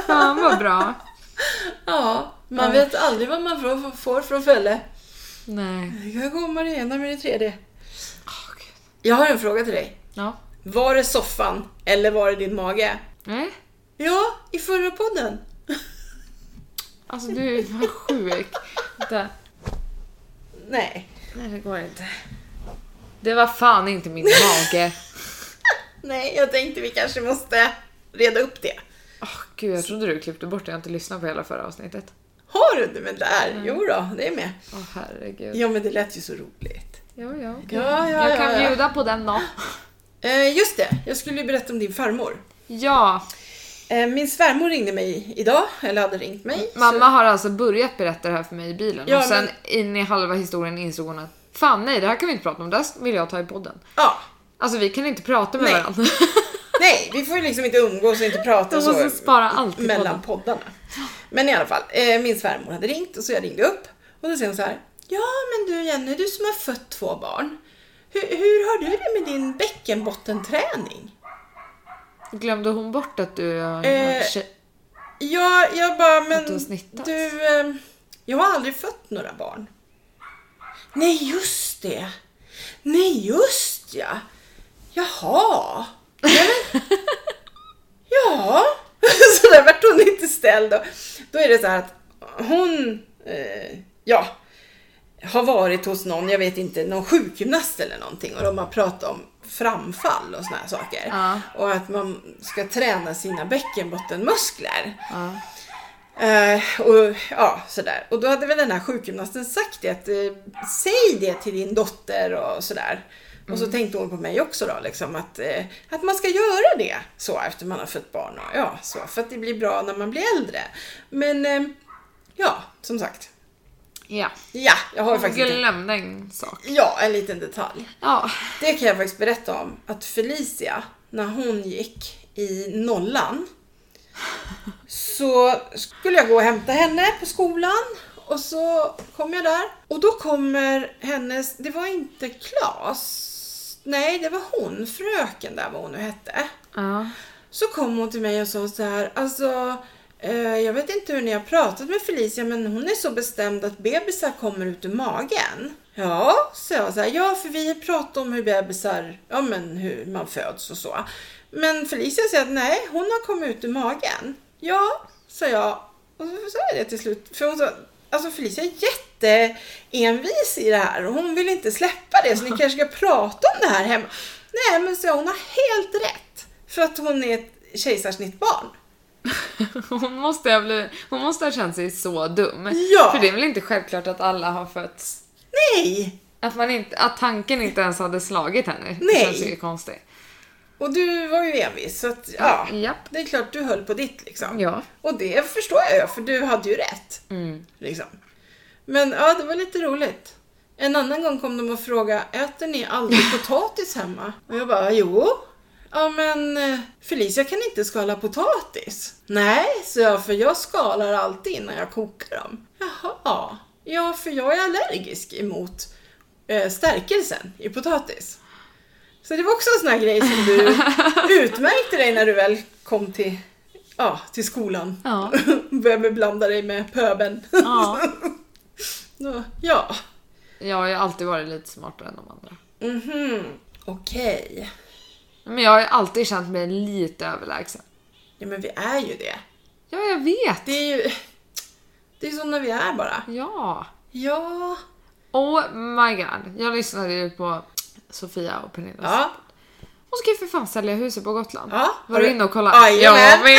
Speaker 2: Fan vad bra.
Speaker 1: ja, man vet aldrig vad man får, får från Fälle.
Speaker 2: Nej.
Speaker 1: Nu kan jag komma det ena med det tredje.
Speaker 2: Åh, gud.
Speaker 1: Jag har en fråga till dig.
Speaker 2: Ja.
Speaker 1: Var det soffan eller var det din mage?
Speaker 2: Nej.
Speaker 1: Ja, i förra podden.
Speaker 2: Alltså du är fan sjuk. Vänta.
Speaker 1: Nej.
Speaker 2: Nej, det går inte. Det var fan inte min mage.
Speaker 1: Nej, jag tänkte vi kanske måste reda upp det.
Speaker 2: Åh gud, jag trodde du klippte bort det. Jag har inte lyssnat på hela förra avsnittet.
Speaker 1: Har du det? Men där, jo då, det är med.
Speaker 2: Åh herregud.
Speaker 1: Ja, men det lät ju så roligt.
Speaker 2: Ja, ja, okej.
Speaker 1: Ja, ja,
Speaker 2: Jag
Speaker 1: ja,
Speaker 2: kan
Speaker 1: ja.
Speaker 2: bjuda på den då.
Speaker 1: Eh, just det, jag skulle ju berätta om din farmor.
Speaker 2: Ja,
Speaker 1: Eh, min svärmor ringde mig idag, eller hade ringt mig. så-
Speaker 2: mamma har alltså börjat berätta det här för mig i bilen
Speaker 1: Ja,
Speaker 2: och sen
Speaker 1: men-
Speaker 2: in i halva historien insåg hon att fan nej, det här kan vi inte prata om. Det här vill jag ta i podden.
Speaker 1: Ja,
Speaker 2: Alltså vi kan inte prata med
Speaker 1: Nej. (laughs)
Speaker 2: varandra.
Speaker 1: Nej, vi får ju liksom inte umgås och inte prata
Speaker 2: Jag
Speaker 1: och så
Speaker 2: måste spara allt i
Speaker 1: mellan poddarna. Men i alla fall, eh, min svärmor hade ringt och så jag ringde upp och då säger hon så här. Ja, men du Jenny, du som har fött två barn. Hur, hur har du det med din bäckenbottenträning?
Speaker 2: Glömde hon bort att du har
Speaker 1: Eh,
Speaker 2: tje-
Speaker 1: Jag, jag bara, men
Speaker 2: Att du har snittat.
Speaker 1: du, eh, jag har aldrig fött några barn. Nej, just det. Nej, just ja. Jaha. Nej, men- ja. (laughs) Så där vart hon inte ställd. Då, då är det så här att hon, eh, ja, har varit hos någon, jag vet inte, någon sjukgymnast eller någonting och de har pratat om framfall och såna här saker.
Speaker 2: Ja.
Speaker 1: Och att man ska träna sina bäckenbottenmuskler.
Speaker 2: Ja.
Speaker 1: Eh, och, ja, sådär. och då hade väl den här sjukgymnasten sagt det att eh, säg det till din dotter och sådär. Och så tänkte hon på mig också då, liksom, att, eh, att man ska göra det så efter man har fött barn. Och, ja, så, för att det blir bra när man blir äldre. Men eh, ja, som sagt.
Speaker 2: ja.
Speaker 1: Ja, jag har ju
Speaker 2: Jag
Speaker 1: faktiskt inte,
Speaker 2: glömde en sak.
Speaker 1: ja, en liten detalj.
Speaker 2: Ja.
Speaker 1: Det kan jag faktiskt berätta om att Felicia, när hon gick i nollan så skulle jag gå och hämta henne på skolan och så kom jag där och då kommer hennes, det var inte Klas, nej det var hon, fröken där vad hon nu hette.
Speaker 2: Ja.
Speaker 1: Så kom hon till mig och sa så här, alltså eh, jag vet inte hur ni har pratat med Felicia men hon är så bestämd att bebisar kommer ut ur magen. Ja, så jag så här, ja för vi pratar om hur bebisar, ja men hur man föds och så. Men Felicia säger att nej, hon har kommit ut ur magen. Ja, sa jag. Och så sa jag det till slut, för hon sa, alltså Felicia är jätteenvis i det här och hon vill inte släppa det så ni kanske ska prata om det här hemma. Nej men så jag, hon har helt rätt. För att hon är ett kejsarsnittbarn.
Speaker 2: (laughs) Hon måste, ha blivit, hon måste ha känt sig så dum.
Speaker 1: Ja.
Speaker 2: För det är väl inte självklart att alla har fötts...
Speaker 1: Nej!
Speaker 2: Att, man inte, att tanken inte ens hade slagit henne. Det
Speaker 1: Nej.
Speaker 2: känns ju konstigt.
Speaker 1: Och du var ju envis så att ja,
Speaker 2: Japp.
Speaker 1: det är klart du höll på ditt liksom.
Speaker 2: Mm. Ja.
Speaker 1: Och det förstår jag ju för du hade ju rätt.
Speaker 2: Mm.
Speaker 1: Liksom. Men ja, det var lite roligt. En annan gång kom de och frågade, äter ni aldrig potatis hemma? Och jag bara, jo. Ja men eh, Felicia kan inte skala potatis. Nej, så jag, för jag skalar alltid innan jag kokar dem. Jaha, ja för jag är allergisk emot eh, stärkelsen i potatis. Så det var också en sån här grej som du utmärkte dig när du väl kom till, ja, till skolan.
Speaker 2: Ja.
Speaker 1: (laughs) Började blanda dig med pöben.
Speaker 2: Ja.
Speaker 1: (laughs) Nå, Ja.
Speaker 2: Jag har ju alltid varit lite smartare än de andra.
Speaker 1: Mhm. Okej.
Speaker 2: Men jag har ju alltid känt mig lite överlägsen.
Speaker 1: Ja men vi är ju det.
Speaker 2: Ja, jag vet!
Speaker 1: Det är ju... Det är sådana vi är bara.
Speaker 2: Ja.
Speaker 1: Ja.
Speaker 2: Oh my god. Jag lyssnade ju på Sofia och Pernilla.
Speaker 1: Ja.
Speaker 2: Hon ska ju för fan sälja huset på Gotland.
Speaker 1: Ja.
Speaker 2: Var du inne och kollade?
Speaker 1: Jajamän.
Speaker 2: men.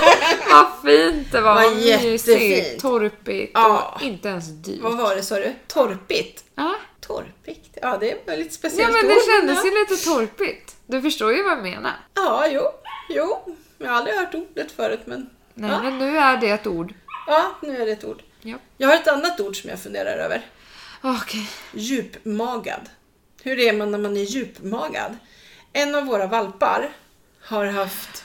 Speaker 1: (laughs)
Speaker 2: Vad fint det var.
Speaker 1: Vad
Speaker 2: Vad mysigt.
Speaker 1: jättefint.
Speaker 2: Torpigt
Speaker 1: Ja.
Speaker 2: och inte ens dyrt.
Speaker 1: Vad var det sa du? Torpigt.
Speaker 2: Ja.
Speaker 1: Torpigt? Ja det är väl lite
Speaker 2: ja
Speaker 1: speciellt
Speaker 2: men det
Speaker 1: ord,
Speaker 2: kändes
Speaker 1: ja.
Speaker 2: ju lite torpigt. Du förstår ju vad jag menar.
Speaker 1: Ja, jo. Jo. Jag har aldrig hört ordet förut men...
Speaker 2: Nej
Speaker 1: Ja.
Speaker 2: men nu är det ett ord.
Speaker 1: Ja, nu är det ett ord.
Speaker 2: Ja.
Speaker 1: Jag har ett annat ord som jag funderar över.
Speaker 2: Okej.
Speaker 1: Djupmagad. Hur är man när man är djupmagad? En av våra valpar har haft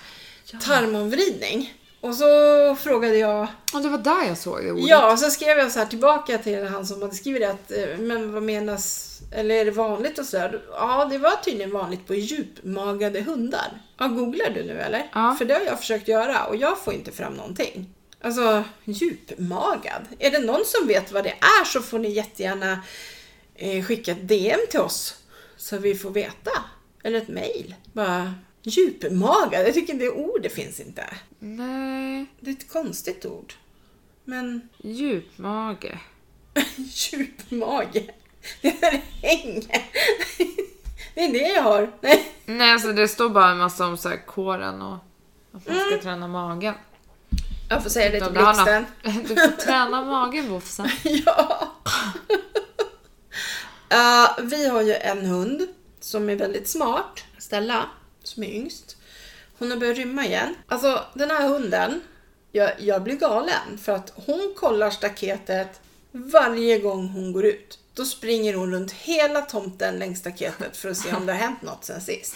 Speaker 1: tarmomvridning. Och så frågade jag
Speaker 2: Och det var där jag såg det ordet.
Speaker 1: Ja, och så skrev jag så här tillbaka till han som hade skrivit det att eh, men vad menas, eller är det vanligt och sådär? Ja, det var tydligen vanligt på djupmagade hundar. Ja, googlar du nu eller?
Speaker 2: Ja.
Speaker 1: För det har jag försökt göra och jag får inte fram någonting. Alltså, djupmagad. Är det någon som vet vad det är så får ni jättegärna eh, skicka ett DM till oss så vi får veta. Eller ett mejl. Bara djupmagad, jag tycker det ordet finns inte.
Speaker 2: Nej.
Speaker 1: Det är ett konstigt ord. Men
Speaker 2: Djupmage.
Speaker 1: (laughs) Djupmage. Det är hänge. Det är det jag har. Nej.
Speaker 2: Nej alltså det står bara en massa om så här kåren och att man ska
Speaker 1: Mm.
Speaker 2: träna magen.
Speaker 1: Jag får säga det
Speaker 2: Ja,
Speaker 1: till
Speaker 2: det har
Speaker 1: blixten. (laughs)
Speaker 2: något- (laughs) Du får träna magen Bofsen.
Speaker 1: Ja. (laughs) Eh, vi har ju en hund som är väldigt smart. Stella, som är yngst. Hon har börjat rymma igen. Alltså den här hunden, jag, jag blir galen för att hon kollar staketet varje gång hon går ut. Då springer hon runt hela tomten längs staketet för att se om det har hänt något sen sist.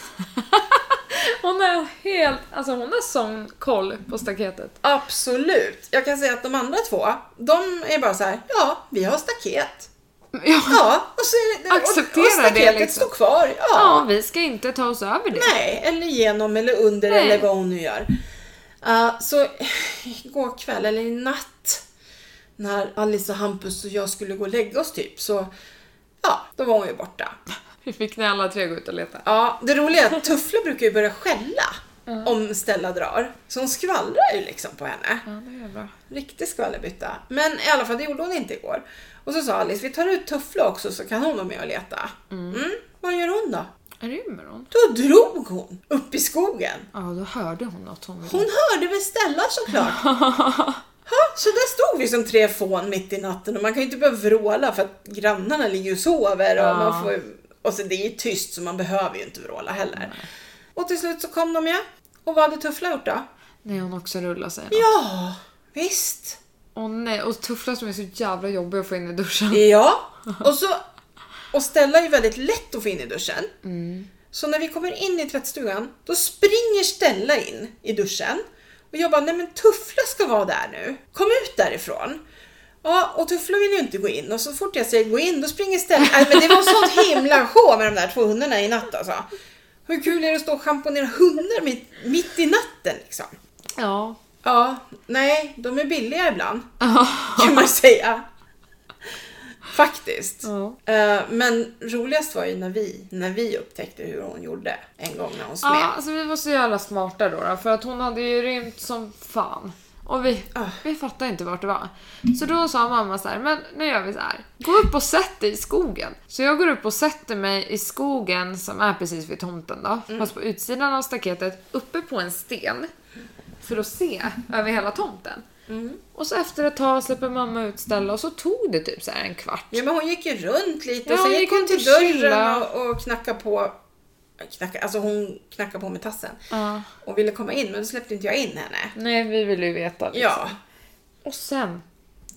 Speaker 2: Hon är helt, alltså hon har sån koll på staketet.
Speaker 1: Absolut. Jag kan säga att de andra två, de är bara så här, ja, vi har staket.
Speaker 2: Ja,
Speaker 1: Ja, och så är det,
Speaker 2: Acceptera
Speaker 1: och, och
Speaker 2: det,
Speaker 1: staketet
Speaker 2: liksom.
Speaker 1: står kvar. Ja.
Speaker 2: ja vi ska inte ta oss över det.
Speaker 1: Nej, eller genom eller under
Speaker 2: Nej.
Speaker 1: eller vad hon nu gör. Eh, så (sighs) igår kväll, eller i natt, när Alice och Hampus och jag skulle gå och lägga oss typ, så ja, då var hon ju borta.
Speaker 2: Vi fick ni alla tre gå ut och leta.
Speaker 1: Ja, det roliga är att Tuffle brukar ju börja skälla om Stella drar. Så hon skvallrar ju liksom på henne.
Speaker 2: Ja, det är bra.
Speaker 1: Riktig skvallerbytta. Men i alla fall, det gjorde hon inte igår. Och så sa Alice, vi tar ut Tuffle också så kan hon vara med och leta. Mm. Vad gör hon då?
Speaker 2: Rymmer hon?
Speaker 1: Då drog hon upp i skogen.
Speaker 2: Ja, då hörde hon något hon ville.
Speaker 1: Hon hörde väl Stella såklart. Ha, så där stod vi som tre fån mitt i natten och man kan ju inte börja vråla för att grannarna ligger och sover och
Speaker 2: Ja.
Speaker 1: man får ju- Och så det är ju tyst så man behöver ju inte vråla heller. Och till slut så kom de ju. Och vad hade Tuffla gjort då?
Speaker 2: Nej, hon också rullar sig.
Speaker 1: Ja, visst.
Speaker 2: Åh nej, och tufflar som är så jävla jobbiga att få in i duschen.
Speaker 1: Ja, och så... Och Stella är ju väldigt lätt att få in i duschen.
Speaker 2: Mm.
Speaker 1: Så när vi kommer in i tvättstugan, då springer Stella in i duschen. Och jag bara, nej men Tuffla ska vara där nu. Kom ut därifrån. Ja, och Tuffla vill ju inte gå in och så fort jag säger gå in då springer Stella. Nej, men det var sånt himla show med de där två hundarna i natt alltså. Hur kul är det att stå och schamponera hundar mitt, mitt i natten liksom?
Speaker 2: Ja.
Speaker 1: Ja, nej, de är billiga ibland kan man säga. Faktiskt.
Speaker 2: Ja.
Speaker 1: Eh, Men roligast var ju när vi, när vi upptäckte hur hon gjorde en gång när hon smet.
Speaker 2: Ja, alltså vi var så jävla smarta då, då för att hon hade ju rymt som fan. Och vi,
Speaker 1: Ah.
Speaker 2: vi fattade inte vart det var. Så då sa mamma så här, men nu gör vi så här. Gå upp och sätt dig i skogen. Så jag går upp och sätter mig i skogen som är precis vid tomten då. Fast på utsidan av staketet, uppe på en sten. För att se över hela tomten. Och så efter ett tag släpper mamma ut Stella och så tog det typ så här en kvart.
Speaker 1: Ja, men hon gick ju runt lite
Speaker 2: Ja,
Speaker 1: och sen
Speaker 2: hon
Speaker 1: gick
Speaker 2: gick
Speaker 1: hon
Speaker 2: runt
Speaker 1: till
Speaker 2: och
Speaker 1: dörren
Speaker 2: chillade.
Speaker 1: och, och knackade på. Knacka, alltså hon knackade på med tassen
Speaker 2: Ja.
Speaker 1: och ville komma in men då släppte inte jag in henne.
Speaker 2: Nej, vi ville ju veta. liksom.
Speaker 1: Ja,
Speaker 2: Och sen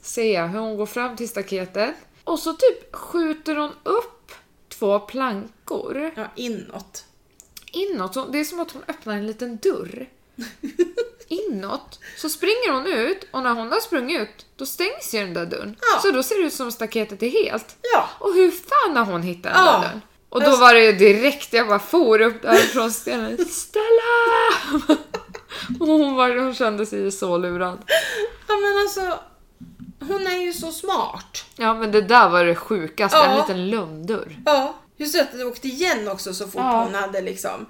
Speaker 2: ser jag hur hon går fram till staketet och så typ skjuter hon upp två plankor
Speaker 1: ja inåt.
Speaker 2: inåt. Så Det är som att hon öppnar en liten
Speaker 1: (laughs)
Speaker 2: dörr. Inåt. Så springer hon ut och när hon har sprungit ut då stängs ju den där dörren.
Speaker 1: Ja.
Speaker 2: Så då ser det ut som staketet är helt.
Speaker 1: Ja,
Speaker 2: Och hur fan har hon hittat den
Speaker 1: Ja.
Speaker 2: där dörren? Och då
Speaker 1: Jag-
Speaker 2: var det ju direkt jag bara for upp
Speaker 1: (laughs)
Speaker 2: därifrån stenen. Stella! (laughs) Och hon, var, hon kände sig ju så lurad.
Speaker 1: ja men alltså hon är ju så smart.
Speaker 2: Ja men det där var det sjukaste, en
Speaker 1: Ja.
Speaker 2: liten lönndörr.
Speaker 1: Ja, just det att det åkte igen också så fort
Speaker 2: Ja.
Speaker 1: hon hade liksom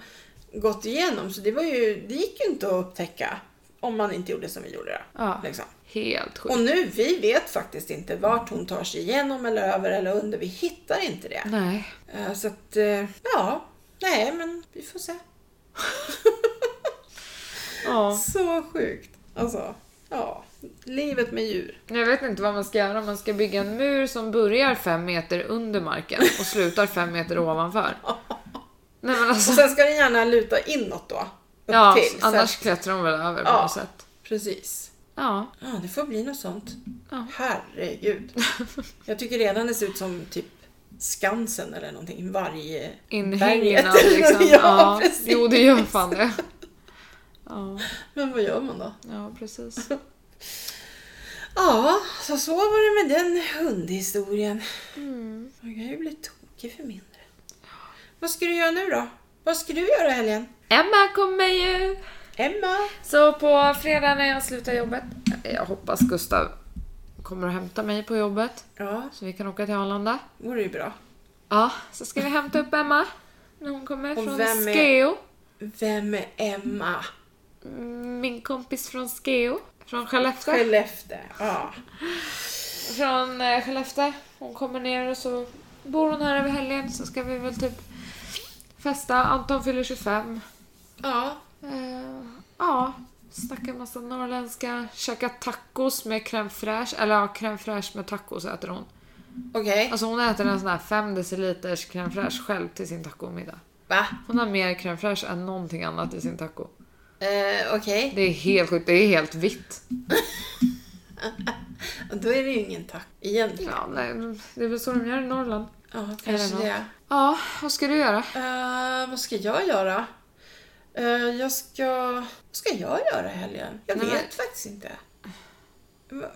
Speaker 1: gått igenom så det var ju, det gick ju inte att upptäcka om man inte gjorde som vi gjorde då.
Speaker 2: Ja.
Speaker 1: Liksom.
Speaker 2: Helt sjukt.
Speaker 1: Och nu, vi vet faktiskt inte vart hon tar sig igenom eller över eller under, vi hittar inte det.
Speaker 2: Nej.
Speaker 1: Eh, Så att, eh, ja. Nej, men vi får se.
Speaker 2: Ja.
Speaker 1: Så sjukt. Alltså, ja. Livet med djur.
Speaker 2: Jag vet inte vad man ska göra, man ska bygga en mur som börjar fem meter under marken och slutar fem
Speaker 1: (laughs)
Speaker 2: meter ovanför. Nej men alltså,
Speaker 1: Och sen ska den gärna luta inåt då. Upp
Speaker 2: ja,
Speaker 1: till. Så
Speaker 2: annars
Speaker 1: att,
Speaker 2: klättrar de väl över på
Speaker 1: Ja.
Speaker 2: något sätt.
Speaker 1: precis.
Speaker 2: Ja.
Speaker 1: Ja, Ah, det får bli något sånt.
Speaker 2: Ja.
Speaker 1: Herregud. Jag tycker redan det ser ut som typ Skansen eller någonting. Varje
Speaker 2: Inhägnad
Speaker 1: berget.
Speaker 2: liksom.
Speaker 1: (laughs) ja,
Speaker 2: Ja,
Speaker 1: precis.
Speaker 2: jo det gör
Speaker 1: (laughs)
Speaker 2: fan det. Ja,
Speaker 1: Men vad gör man då?
Speaker 2: ja precis.
Speaker 1: Ja, så så var det med den hundhistorien.
Speaker 2: Mm.
Speaker 1: Man kan ju bli tokig för mindre. Vad ska du göra nu då? Vad ska du göra i helgen?
Speaker 2: Emma kommer ju!
Speaker 1: Emma?
Speaker 2: Så på fredag när jag slutar jobbet, jag hoppas Gustav kommer och hämta mig på jobbet
Speaker 1: Ja,
Speaker 2: så vi kan åka till Arlanda.
Speaker 1: det vore ju bra.
Speaker 2: Ja, så ska vi hämta upp Emma när hon kommer
Speaker 1: Och
Speaker 2: från
Speaker 1: vem är-
Speaker 2: Skeo.
Speaker 1: Vem är Emma?
Speaker 2: Mm, Min kompis från Skeo, från Skellefteå.
Speaker 1: Skellefteå. Ja.
Speaker 2: Från eh, Skellefteå. Hon kommer ner och så bor hon här över helgen så ska vi väl typ festa. Anton fyller 25.
Speaker 1: Ja.
Speaker 2: Eh, ja, snacka massa norrländska, käka tacos med crème fraîche. Eller ja, crème fraîche med tacos äter hon.
Speaker 1: Okej.
Speaker 2: Alltså hon äter en sån här 5 deciliters crème fraîche själv till sin tacomiddag.
Speaker 1: Va?
Speaker 2: Hon har mer crème fraîche än någonting annat i sin taco.
Speaker 1: Eh, Okej.
Speaker 2: Det är helt sjukt, det är helt vitt.
Speaker 1: Då är det ju ingen tack egentligen.
Speaker 2: Ja, nej, det är väl så de gör i Norrland.
Speaker 1: Ja,
Speaker 2: Eller
Speaker 1: kanske
Speaker 2: något.
Speaker 1: det.
Speaker 2: Ja, vad ska du göra?
Speaker 1: Eh, vad ska jag göra? Eh, jag ska... Vad ska jag göra i helgen? Jag
Speaker 2: Nej,
Speaker 1: vet
Speaker 2: men-
Speaker 1: faktiskt inte. Va?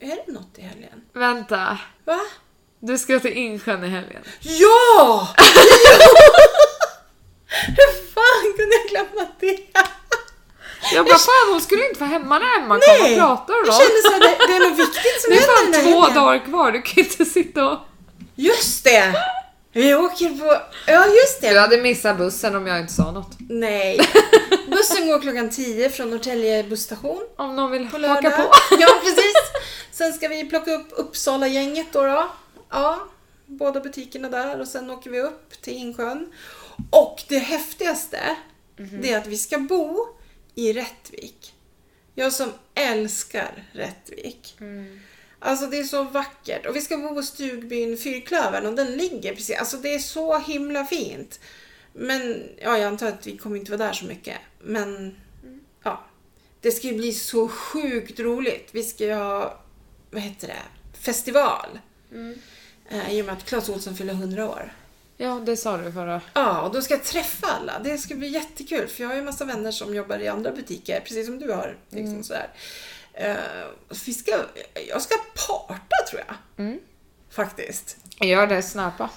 Speaker 1: Är det något i helgen?
Speaker 2: Vänta,
Speaker 1: Va?
Speaker 2: du ska till Insjön i helgen.
Speaker 1: Ja! ja! Hur fan kunde jag glömma det?
Speaker 2: Jag bara, fan hon skulle inte vara hemma när Emma kom och
Speaker 1: Nej!
Speaker 2: pratade
Speaker 1: Jag
Speaker 2: och
Speaker 1: kände såhär, det, det är något viktigt som
Speaker 2: Det är
Speaker 1: händer den här
Speaker 2: fan två
Speaker 1: veckan.
Speaker 2: dagar kvar, du kan inte sitta och...
Speaker 1: Just det! Vi åker på... Ja, just
Speaker 2: Du
Speaker 1: det.
Speaker 2: hade missat bussen om jag inte sa något.
Speaker 1: Nej.
Speaker 2: (laughs)
Speaker 1: Bussen går klockan 10 från Norrtälje busstation.
Speaker 2: Om någon vill
Speaker 1: på
Speaker 2: haka
Speaker 1: lördag.
Speaker 2: på.
Speaker 1: (laughs) Ja, precis. Sen ska vi plocka upp Uppsala-gänget då, då. Ja, båda butikerna där och sen åker vi upp till Insjön. Och det häftigaste,
Speaker 2: Mhm.
Speaker 1: det är att vi ska bo i Rättvik. Jag som älskar Rättvik.
Speaker 2: Mm.
Speaker 1: Alltså det är så vackert. Och vi ska bo på stugbyn Fyrklövern och den ligger precis, alltså det är så himla fint. Men ja, jag antar att vi kommer inte vara där så mycket. Men ja, det ska ju bli så sjukt roligt. Vi ska ju ha, vad heter det, festival. Eh, I och med att Clas Ohlson fyller 100 år.
Speaker 2: Ja, det sa du förra.
Speaker 1: Ja, och då ska jag träffa alla. Det ska bli jättekul för jag har ju massa vänner som jobbar i andra butiker, precis som du har. Liksom sådär. Eh, vi ska, jag ska parta tror jag.
Speaker 2: Mm.
Speaker 1: Faktiskt.
Speaker 2: Gör det, snappa.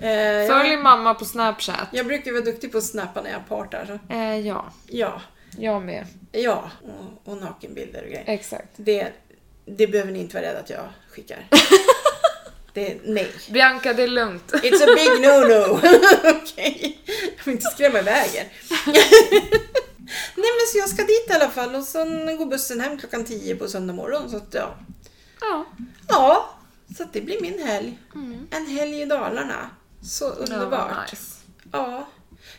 Speaker 1: Eh, jag,
Speaker 2: Följ mamma på snapchat.
Speaker 1: jag brukar ju vara duktig på att snappa när jag partar. så-
Speaker 2: Eh, ja,
Speaker 1: Ja,
Speaker 2: jag med.
Speaker 1: ja. Och, och nakenbilder och grejer.
Speaker 2: Exakt.
Speaker 1: Det, det behöver ni inte vara rädda att jag skickar. Det, nej.
Speaker 2: Bianca, det är lugnt.
Speaker 1: It's a big no-no. (laughs) Okej. Jag vill inte skrämma iväg er. Nej men så jag ska dit i alla fall och sen går bussen hem klockan 10 på söndag morgon. Så att, ja.
Speaker 2: Ja.
Speaker 1: ja, så att det blir min helg. En helg i Dalarna. Så underbart.
Speaker 2: Mm. Ja,
Speaker 1: Ja,
Speaker 2: nice.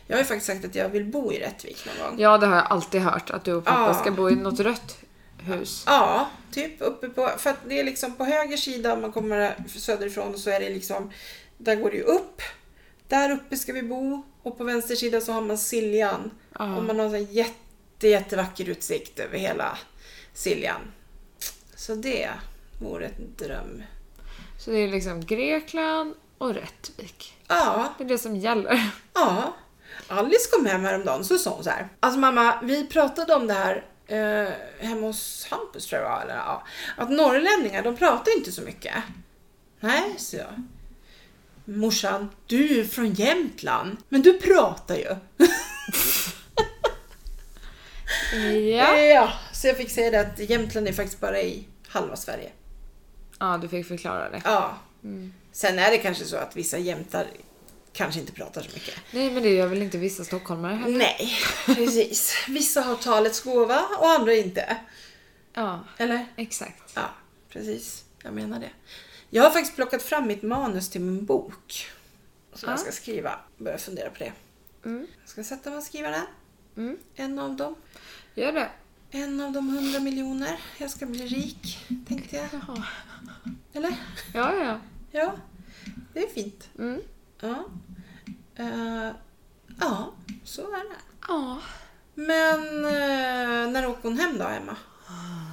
Speaker 1: Jag har ju faktiskt sagt att jag vill bo i Rättvik någon gång.
Speaker 2: ja, det har jag alltid hört. Att du och pappa
Speaker 1: Ja.
Speaker 2: ska bo i något rött hus.
Speaker 1: Ja, typ uppe på... För att det är liksom på höger sida om man kommer söderifrån så är det liksom... Där går det ju upp. Där uppe ska vi bo. Och på vänster sida så har man Siljan.
Speaker 2: Ja.
Speaker 1: Och man har så här jätte, jättevacker utsikt över hela Siljan. Så det vore ett dröm.
Speaker 2: Så det är liksom Grekland och Rättvik.
Speaker 1: Ja,
Speaker 2: Det är det som gäller.
Speaker 1: ja. Alice kom hem häromdagen så sa hon så här. Alltså mamma, vi pratade om det här eh, hemma hos Hampus tror jag det var, eller ja. Att norrlänningar, de pratar ju inte så mycket. Nej, så jag. Morsan, du är ju från Jämtland, men du pratar ju.
Speaker 2: Ja.
Speaker 1: ja. Så jag fick säga det att Jämtland är faktiskt bara i halva Sverige.
Speaker 2: Ja, du fick förklara det.
Speaker 1: Ja. Sen är det kanske så att vissa jämtar kanske inte pratar så mycket.
Speaker 2: Nej, men det gör väl inte vissa stockholmare heller.
Speaker 1: Nej, precis. Vissa har talets gåva och andra inte.
Speaker 2: Ja,
Speaker 1: Eller?
Speaker 2: exakt.
Speaker 1: Ja, precis. Jag menar det. Jag har faktiskt plockat fram mitt manus till min bok. Som jag
Speaker 2: Ja.
Speaker 1: ska skriva. Börjar fundera på det.
Speaker 2: Mm.
Speaker 1: Jag ska sätta mig och skriva den.
Speaker 2: Mm.
Speaker 1: En av dem.
Speaker 2: Gör det.
Speaker 1: En av de hundra miljoner. Jag ska bli rik, tänkte jag.
Speaker 2: Jaha.
Speaker 1: Eller?
Speaker 2: Ja, ja, ja.
Speaker 1: Ja, det är fint.
Speaker 2: Mm.
Speaker 1: Ja. Eh, ja, så är det.
Speaker 2: Ja.
Speaker 1: Men eh, när åker hon hem då, Emma?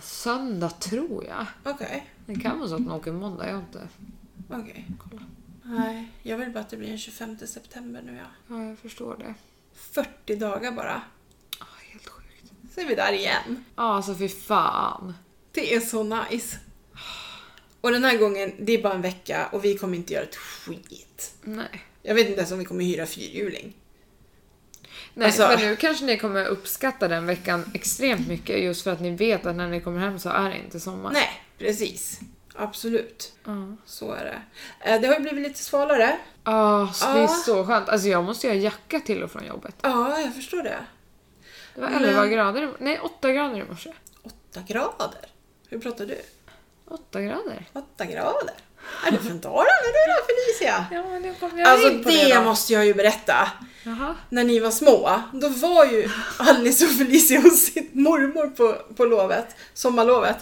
Speaker 2: Söndag tror jag.
Speaker 1: Okej.
Speaker 2: Det kan vara så att man åker måndag, jag har inte.
Speaker 1: Okej.
Speaker 2: Kolla.
Speaker 1: Nej, jag vill bara att det blir den 25 september nu ja.
Speaker 2: Ja, jag förstår det.
Speaker 1: 40 dagar bara.
Speaker 2: Ja, helt sjukt.
Speaker 1: Så är vi där igen.
Speaker 2: Ja, alltså fy fan.
Speaker 1: Det är så nice. Och den här gången, det är bara en vecka och vi kommer inte göra ett skit.
Speaker 2: Nej.
Speaker 1: Jag vet inte ens om vi kommer hyra fyrhjuling.
Speaker 2: Nej,
Speaker 1: Alltså-
Speaker 2: men nu kanske ni kommer uppskatta den veckan extremt mycket just för att ni vet att när ni kommer hem så är det inte sommar.
Speaker 1: Nej, precis. Absolut.
Speaker 2: Ja,
Speaker 1: Så är det. Eh, Det har ju blivit lite svalare.
Speaker 2: Ja, så Ah, det är
Speaker 1: Ja.
Speaker 2: så skönt. Alltså jag måste ju ha jacka till och från jobbet.
Speaker 1: Ja, jag förstår det.
Speaker 2: Det var
Speaker 1: Men-
Speaker 2: 11 grader, i- nej 8 grader i morse.
Speaker 1: 8 grader? Hur pratar du?
Speaker 2: 8 grader.
Speaker 1: 8 grader? Är du från Dalarna du då Felicia?
Speaker 2: Ja, men nu kommer jag
Speaker 1: Alltså
Speaker 2: in på
Speaker 1: det,
Speaker 2: det då.
Speaker 1: måste jag ju berätta.
Speaker 2: Jaha.
Speaker 1: När ni var små, då var ju Alice och Felicia hos sin mormor på, på lovet, sommarlovet.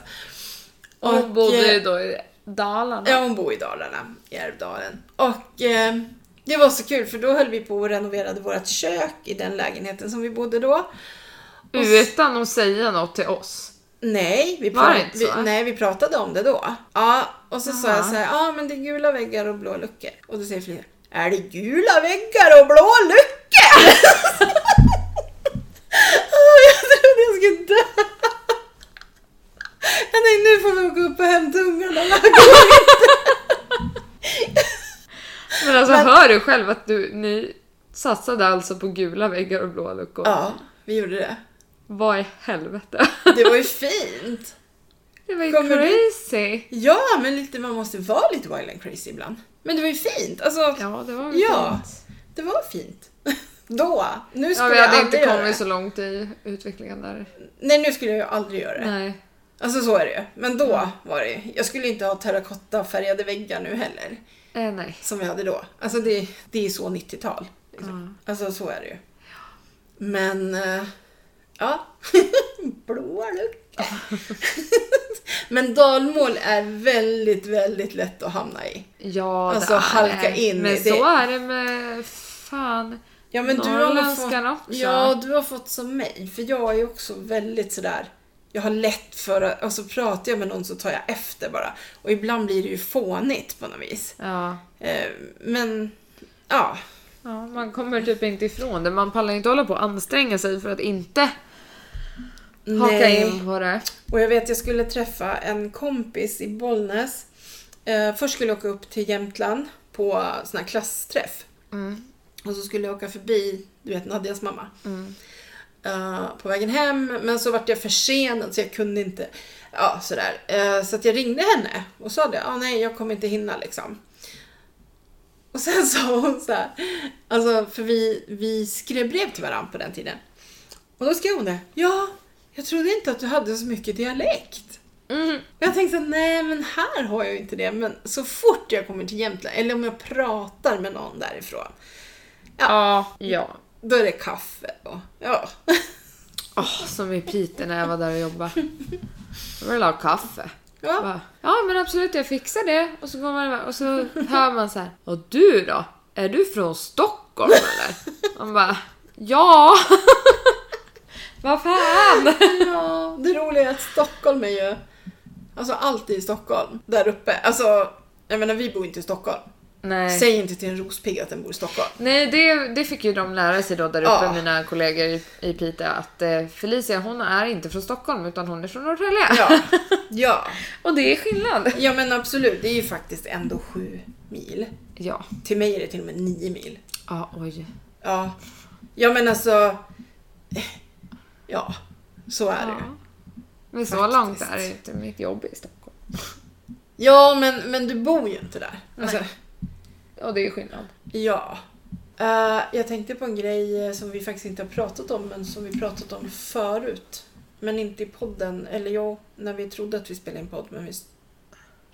Speaker 2: Och hon bodde ju
Speaker 1: eh,
Speaker 2: då i Dalarna.
Speaker 1: Ja, hon bor i Dalarna, i Älvdalen. Och eh, det var så kul för då höll vi på och renoverade vårt kök i den lägenheten som vi bodde då.
Speaker 2: Utan att säga något till oss.
Speaker 1: Nej, vi,
Speaker 2: Var det
Speaker 1: pra-
Speaker 2: inte
Speaker 1: vi,
Speaker 2: så?
Speaker 1: nej, vi pratade om det då. Ja, och så sa
Speaker 2: Aha.
Speaker 1: jag så här, ja ah, men det är gula väggar och blå luckor. Och då säger Frida, är det gula väggar och blå luckor? (laughs) Åh, jag trodde jag skulle dö. (laughs) Jag tänkte nu får vi åka upp och hämta ungarna. (laughs)
Speaker 2: Men alltså
Speaker 1: Men-
Speaker 2: hör du själv att du, ni satsade alltså på gula väggar och blå luckor?
Speaker 1: Ja, vi gjorde det.
Speaker 2: Vad i helvete?
Speaker 1: Det
Speaker 2: (laughs)
Speaker 1: var ju fint!
Speaker 2: Det var ju
Speaker 1: Kommer du-
Speaker 2: crazy!
Speaker 1: Ja, men lite, man måste vara lite wild and crazy ibland. Men det var ju fint! Alltså,
Speaker 2: Ja, det var väl
Speaker 1: Ja.
Speaker 2: fint.
Speaker 1: det var fint. (laughs) Då! Nu
Speaker 2: Ja,
Speaker 1: skulle
Speaker 2: vi
Speaker 1: jag
Speaker 2: hade
Speaker 1: aldrig
Speaker 2: inte
Speaker 1: göra
Speaker 2: kommit
Speaker 1: det.
Speaker 2: så långt i utvecklingen där.
Speaker 1: Nej, nu skulle jag ju aldrig göra det.
Speaker 2: Nej.
Speaker 1: Alltså så är det ju. Men då var det ju- Jag skulle inte ha terrakottafärgade väggar nu heller.
Speaker 2: Eh, nej.
Speaker 1: Som vi hade då. Alltså det, det är så 90-tal. Liksom. Alltså så är det ju. Men... eh, Ja. (laughs) Blåa lucka. (laughs) Men dalmål är väldigt, väldigt lätt att hamna i.
Speaker 2: Ja,
Speaker 1: Alltså,
Speaker 2: det är
Speaker 1: halka
Speaker 2: det.
Speaker 1: in i
Speaker 2: Men
Speaker 1: det.
Speaker 2: så är det med fan
Speaker 1: Ja, men du har nog fått,
Speaker 2: norrländskan också.
Speaker 1: ja, du har fått som mig. För jag är ju också väldigt sådär... Jag har lätt för att... Alltså pratar jag med någon så tar jag efter bara. Och ibland blir det ju fånigt på något vis.
Speaker 2: Ja.
Speaker 1: Eh, Men... Ja.
Speaker 2: ja, man kommer typ inte ifrån det. Man pallar inte hålla på och anstränga sig för att inte haka in på det.
Speaker 1: Och jag vet, jag skulle träffa en kompis i Bollnäs. Eh, först skulle jag åka upp till Jämtland på sån här klassträff. Och så skulle jag åka förbi, du vet Nadias mamma. Eh, på vägen hem, men så vart jag försenad så jag kunde inte. Ja, sådär. Eh, så att jag ringde henne och sa det. Ah, nej, jag kommer inte hinna liksom. Och sen (laughs) sa hon så här. Alltså, för vi, vi skrev brev till varandra på den tiden. Och då skrev hon det. Ja, jag trodde inte att du hade så mycket dialekt.
Speaker 2: Mm.
Speaker 1: Och jag tänkte så här, nej men här har jag ju inte det. Men så fort jag kommer till Jämtland, eller om jag pratar med någon därifrån,
Speaker 2: Ja, ja.
Speaker 1: då är det kaffe och ja. (laughs)
Speaker 2: Åh, som i Piteå när jag var där och jobbade. Jag vill ha kaffe.
Speaker 1: ja.
Speaker 2: Bara, Ja men absolut jag fixar det. Och så går man iväg och så hör man så här. Och du då? Är du från Stockholm eller? Man bara ja. Vad fan.
Speaker 1: ja. Det roliga är att Stockholm är ju, alltså allt är i Stockholm där uppe. Alltså, jag menar vi bor inte i Stockholm.
Speaker 2: Nej.
Speaker 1: Säg inte till en rospigg att den bor i Stockholm.
Speaker 2: Nej, det, det fick ju de lära sig då där uppe,
Speaker 1: Ja.
Speaker 2: mina kollegor i, i Piteå, att eh, Felicia hon är inte från Stockholm utan hon är från Norrtälje.
Speaker 1: (laughs) Ja. ja.
Speaker 2: Och det är skillnad.
Speaker 1: Ja men absolut, det är ju faktiskt ändå sju mil.
Speaker 2: Ja.
Speaker 1: Till mig är det till och med nio mil.
Speaker 2: Ja, oj.
Speaker 1: Ja. Ja men alltså. Ja. Så är det ju.
Speaker 2: Ja. Men så
Speaker 1: Faktiskt.
Speaker 2: långt är det ju inte mitt jobb i Stockholm.
Speaker 1: Ja men, men du bor ju inte där. Alltså,
Speaker 2: Och det är skillnad.
Speaker 1: ja. Eh, jag tänkte på en grej eh, som vi faktiskt inte har pratat om men som vi pratat om förut. Men inte i podden. Eller jo, när vi trodde att vi spelade in podd. Men vi,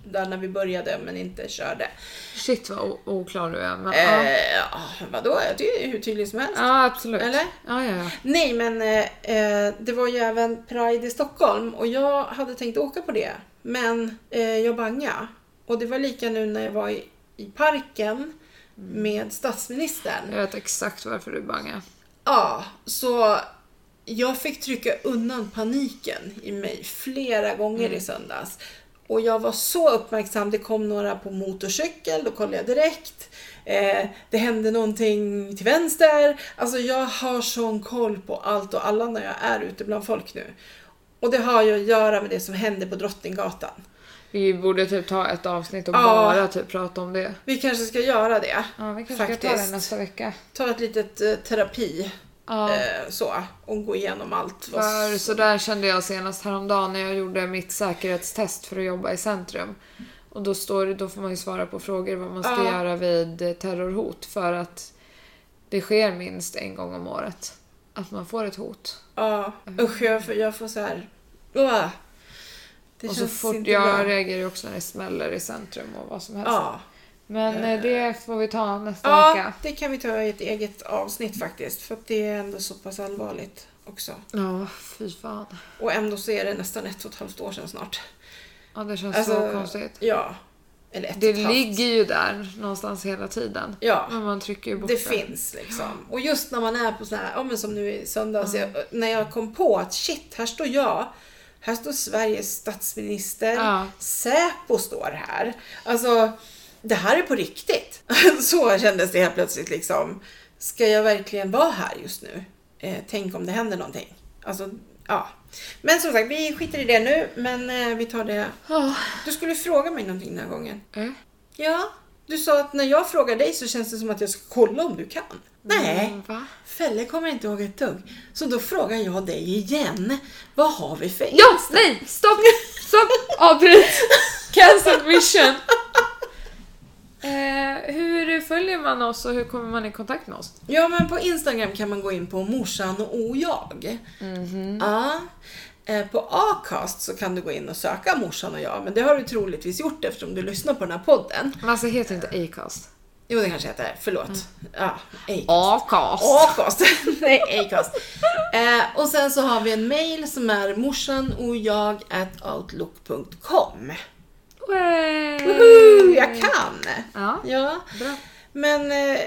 Speaker 1: där när vi började men inte körde.
Speaker 2: Shit vad o- oklar du är. Men,
Speaker 1: Eh,
Speaker 2: ja.
Speaker 1: ja, vadå? Jag tycker det är hur tydligt som helst.
Speaker 2: ja, absolut.
Speaker 1: Eller?
Speaker 2: Ja, ja, ja.
Speaker 1: Nej, men eh, eh, det var ju även Pride i Stockholm och jag hade tänkt åka på det. Men eh, jag bangade. Och det var lika nu när jag var i, i parken med statsministern.
Speaker 2: Jag vet exakt varför du bangar.
Speaker 1: Ja, så jag fick trycka undan paniken i mig flera gånger
Speaker 2: Mm.
Speaker 1: i söndags. Och jag var så uppmärksam. Det kom några på motorcykel, då kollade jag direkt. Eh, det hände någonting till vänster. Alltså jag har sån koll på allt och alla när jag är ute bland folk nu. Och det har ju att göra med det som hände på Drottninggatan.
Speaker 2: Vi borde typ ta ett avsnitt och
Speaker 1: Ja.
Speaker 2: bara typ prata om det.
Speaker 1: Vi kanske ska göra det.
Speaker 2: Ja, vi kanske ska ta det
Speaker 1: Faktiskt.
Speaker 2: nästa vecka.
Speaker 1: Ta ett litet eh, terapi
Speaker 2: Ja.
Speaker 1: eh, så och gå igenom allt. vad
Speaker 2: För så där kände jag senast häromdagen när jag gjorde mitt säkerhetstest för att jobba i centrum. Och då, står, det- då får man ju svara på frågor vad man ska
Speaker 1: Ja.
Speaker 2: göra vid eh, terrorhot för att det sker minst en gång om året. Att man får ett hot.
Speaker 1: Ja, usch jag får, jag får så här. Uah. Det
Speaker 2: och så
Speaker 1: känns
Speaker 2: fort
Speaker 1: inte
Speaker 2: jag
Speaker 1: bra.
Speaker 2: reagerar ju också när det smäller i centrum och vad som helst.
Speaker 1: Ja.
Speaker 2: Men eh, det får vi ta nästa
Speaker 1: ja,
Speaker 2: vecka.
Speaker 1: det kan vi ta i ett eget avsnitt faktiskt. För att det är ändå så pass allvarligt också.
Speaker 2: Ja, fy fan.
Speaker 1: Och ändå så är det nästan ett och ett halvt år sedan snart.
Speaker 2: Ja, det känns så
Speaker 1: Alltså,
Speaker 2: konstigt.
Speaker 1: Ja. Eller ett
Speaker 2: Det
Speaker 1: och ett halvt.
Speaker 2: ligger ju där någonstans hela tiden.
Speaker 1: Ja.
Speaker 2: Men man trycker ju bort
Speaker 1: Det finns liksom. (gasps) Och just när man är på sådana här, ja men som nu i söndags, jag, när jag kom på att shit, här står jag. Här står Sveriges statsminister.
Speaker 2: Ja.
Speaker 1: Säpo står här. Alltså, det här är på riktigt. (laughs) Så kändes det helt plötsligt liksom. Ska jag verkligen vara här just nu? Eh, tänk om det händer någonting. Alltså, ja. Men som sagt, vi skiter i det nu, men eh, vi tar det.
Speaker 2: Ja.
Speaker 1: Du skulle fråga mig någonting den här gången.
Speaker 2: Eh.
Speaker 1: Ja, Du sa att när jag frågar dig så känns det som att jag ska kolla om du kan. Nej,
Speaker 2: Mm, va?
Speaker 1: Felle kommer inte ihåg ett dugg. Så då frågar jag dig igen. Vad har vi för
Speaker 2: Ja, nej, stopp, (laughs) stopp, avbryt. Cancel mission. Eh, hur följer man oss och hur kommer man i kontakt med oss?
Speaker 1: Ja, men på Instagram kan man gå in på morsan och jag. Ja. Eh, På Acast så kan du gå in och söka morsan och jag, men det har du troligtvis gjort eftersom du lyssnar på den här podden.
Speaker 2: Men alltså heter inte Acast?
Speaker 1: Jo, det kanske heter, förlåt. Ja, Acast.
Speaker 2: Acast.
Speaker 1: Acast. (laughs) Nej, Acast. Eh, och sen så har vi en mail som är morsanochjag@outlook.com. Woohoo, jag kan!
Speaker 2: Mm. Ja,
Speaker 1: Ja.
Speaker 2: bra.
Speaker 1: Men, eh,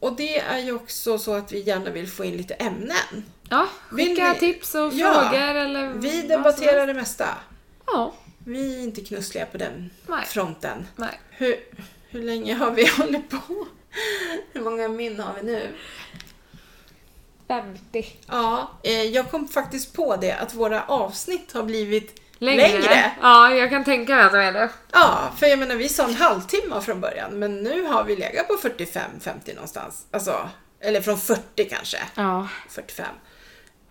Speaker 1: och det är ju också så att vi gärna vill få in lite ämnen.
Speaker 2: Ja,
Speaker 1: Vill
Speaker 2: skicka
Speaker 1: ni-
Speaker 2: tips och
Speaker 1: Ja.
Speaker 2: frågor eller vad
Speaker 1: Vi
Speaker 2: som
Speaker 1: debatterar
Speaker 2: helst.
Speaker 1: det mesta.
Speaker 2: Ja,
Speaker 1: Vi är inte knussliga på den
Speaker 2: Nej.
Speaker 1: fronten.
Speaker 2: nej.
Speaker 1: Hur, hur länge har vi (laughs) hållit på? Hur många min har vi nu?
Speaker 2: 50.
Speaker 1: Ja, eh, jag kom faktiskt på det att våra avsnitt har blivit
Speaker 2: Längre.
Speaker 1: längre.
Speaker 2: Ja, jag kan tänka mig att det är det.
Speaker 1: Ja, för jag menar vi sa en halvtimme från början men nu har vi legat på 45-50 någonstans. Alltså, eller från 40 kanske.
Speaker 2: Ja.
Speaker 1: 45.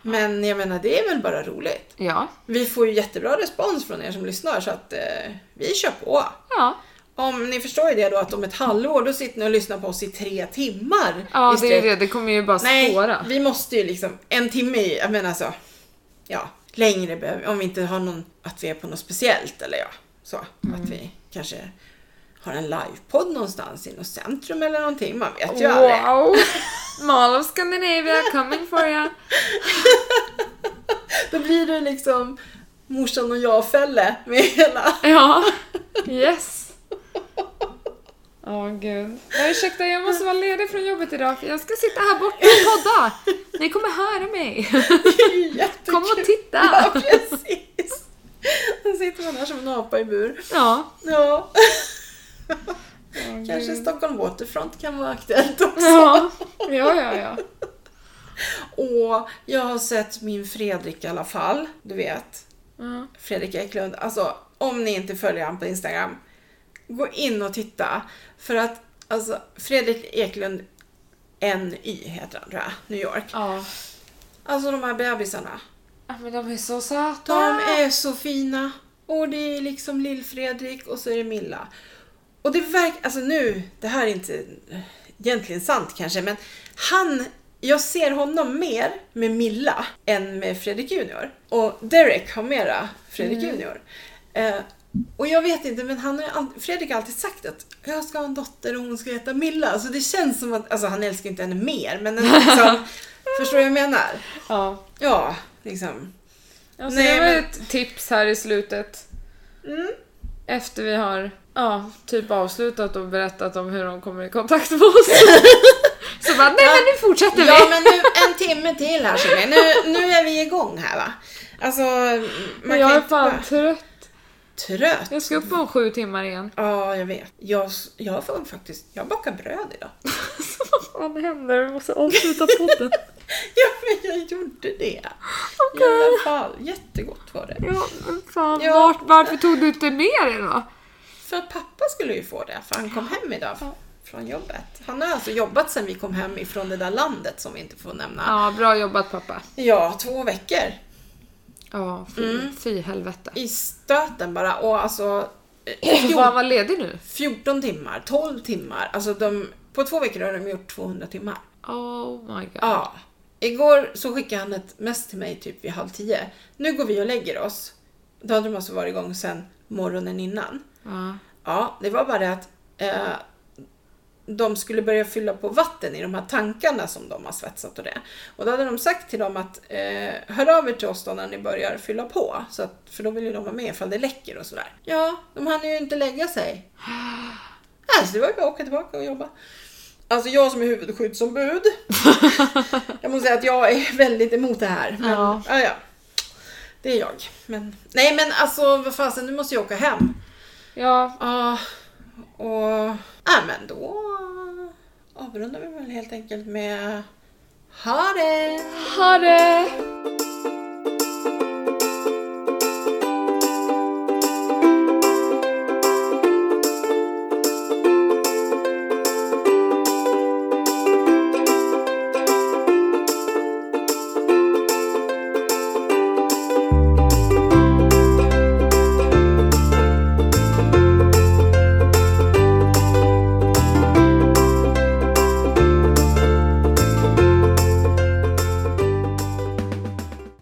Speaker 1: Men jag menar det är väl bara roligt.
Speaker 2: Ja.
Speaker 1: Vi får ju jättebra respons från er som lyssnar så att eh, vi kör på.
Speaker 2: Ja.
Speaker 1: Om ni förstår ju det då att om ett halvår då sitter ni och lyssnar på oss i tre timmar.
Speaker 2: Ja,
Speaker 1: i
Speaker 2: det är
Speaker 1: sträck.
Speaker 2: det. Det kommer ju bara
Speaker 1: Nej,
Speaker 2: spåra.
Speaker 1: vi måste ju liksom en timme i, jag menar så. Ja, längre behöver om vi inte har någon, att vi är på något speciellt eller ja. Så,
Speaker 2: Mm.
Speaker 1: att vi kanske har en livepodd någonstans i något centrum eller någonting. Man vet ju aldrig. (laughs)
Speaker 2: Wow! Mall of Scandinavia coming for you.
Speaker 1: Då blir det liksom morsan och jag-fälle med hela. (laughs)
Speaker 2: Ja. Yes. Åh gud. Jag ursäkta, jag måste vara ledig från jobbet idag för jag ska sitta här borta och podda. Ni kommer höra mig.
Speaker 1: Det är ju jättekul.
Speaker 2: Kom och titta.
Speaker 1: Ja, precis. Då sitter man här som en apa i bur.
Speaker 2: Ja.
Speaker 1: Ja,
Speaker 2: Åh, gud.
Speaker 1: kanske Stockholm Waterfront kan vara aktuellt också.
Speaker 2: Ja. Ja, ja, ja.
Speaker 1: Och jag har sett min Fredrik i alla fall, du vet.
Speaker 2: Ja.
Speaker 1: Fredrik Eklund. Alltså, om ni inte följer honom på Instagram, gå in och titta. För att, alltså, Fredrik Eklund NY heter han tror jag, New York.
Speaker 2: ja.
Speaker 1: Alltså de här bebisarna.
Speaker 2: Ja, Men de är så söta.
Speaker 1: De är så fina. Och det är liksom Lill-Fredrik och så är det Milla. Och det verkar, alltså nu, det här är inte egentligen sant kanske, men han, jag ser honom mer med Milla än med Fredrik Junior. Och Derek har mera Fredrik Junior. Eh, och jag vet inte, men han har, ju all- Fredrik har alltid sagt att jag ska ha en dotter och hon ska heta Milla. Så det känns som att, alltså han älskar inte henne mer, men ändå liksom, förstår du vad jag menar?
Speaker 2: Ja.
Speaker 1: Ja, liksom.
Speaker 2: Alltså,
Speaker 1: Nej,
Speaker 2: det var
Speaker 1: men-
Speaker 2: ett tips här i slutet. Mm. Efter vi har ja, typ avslutat och berättat om hur de kommer i kontakt med oss. (laughs) Så bara, nej men nu fortsätter
Speaker 1: Ja
Speaker 2: vi!
Speaker 1: men nu, en timme till här Shirley. Nu, nu är vi igång här va. Alltså, man
Speaker 2: jag
Speaker 1: kan
Speaker 2: är
Speaker 1: inte
Speaker 2: fan
Speaker 1: vara
Speaker 2: trött.
Speaker 1: trött.
Speaker 2: Jag ska upp om sju timmar igen.
Speaker 1: Ja, jag vet. Jag, s- jag får faktiskt, jag bakar bröd idag. (laughs)
Speaker 2: Så vad fan händer? Vi måste avsluta podden.
Speaker 1: Ja, men jag gjorde det. I alla fall, jättegott var det.
Speaker 2: (laughs) Ja, men fan,
Speaker 1: Ja.
Speaker 2: Vart, varför tog du inte med dig då?
Speaker 1: För att pappa skulle ju få det, för han kom hem idag f- från jobbet. Han har alltså jobbat sedan vi kom hem ifrån det där landet som vi inte får nämna.
Speaker 2: Ja, bra jobbat pappa.
Speaker 1: Ja, två veckor.
Speaker 2: Ja, fy, fy helvete.
Speaker 1: I stöten bara och
Speaker 2: (clears throat)
Speaker 1: alltså...
Speaker 2: Får
Speaker 1: fjol-
Speaker 2: han vara ledig nu?
Speaker 1: 14 timmar, 12 timmar. Alltså de, på två veckor har de gjort 200 timmar.
Speaker 2: Oh my god.
Speaker 1: Ja. Igår så skickade han ett mess till mig typ vid halv tio. Nu går vi och lägger oss. Då hade de alltså varit igång sen morgonen innan.
Speaker 2: Ja.
Speaker 1: Ja, det var bara det att eh, de skulle börja fylla på vatten i de här tankarna som de har svetsat och det. Och då hade de sagt till dem att eh, hör av er till oss då när ni börjar fylla på. Så att, för då vill ju de vara med ifall det läcker och sådär. Ja, de hann ju inte lägga sig. (gasps) Alltså det var ju bara att åka tillbaka och jobba. Alltså jag som är huvudskyddsombud. jag måste säga att jag är väldigt emot det här. Men,
Speaker 2: Ja.
Speaker 1: ja. Ja, Det är jag. Men, nej men alltså vad fasen, nu måste jag åka hem.
Speaker 2: ja,
Speaker 1: Ja, och... Ja, men då avrundar vi väl helt enkelt med... Ha det!
Speaker 2: ha det!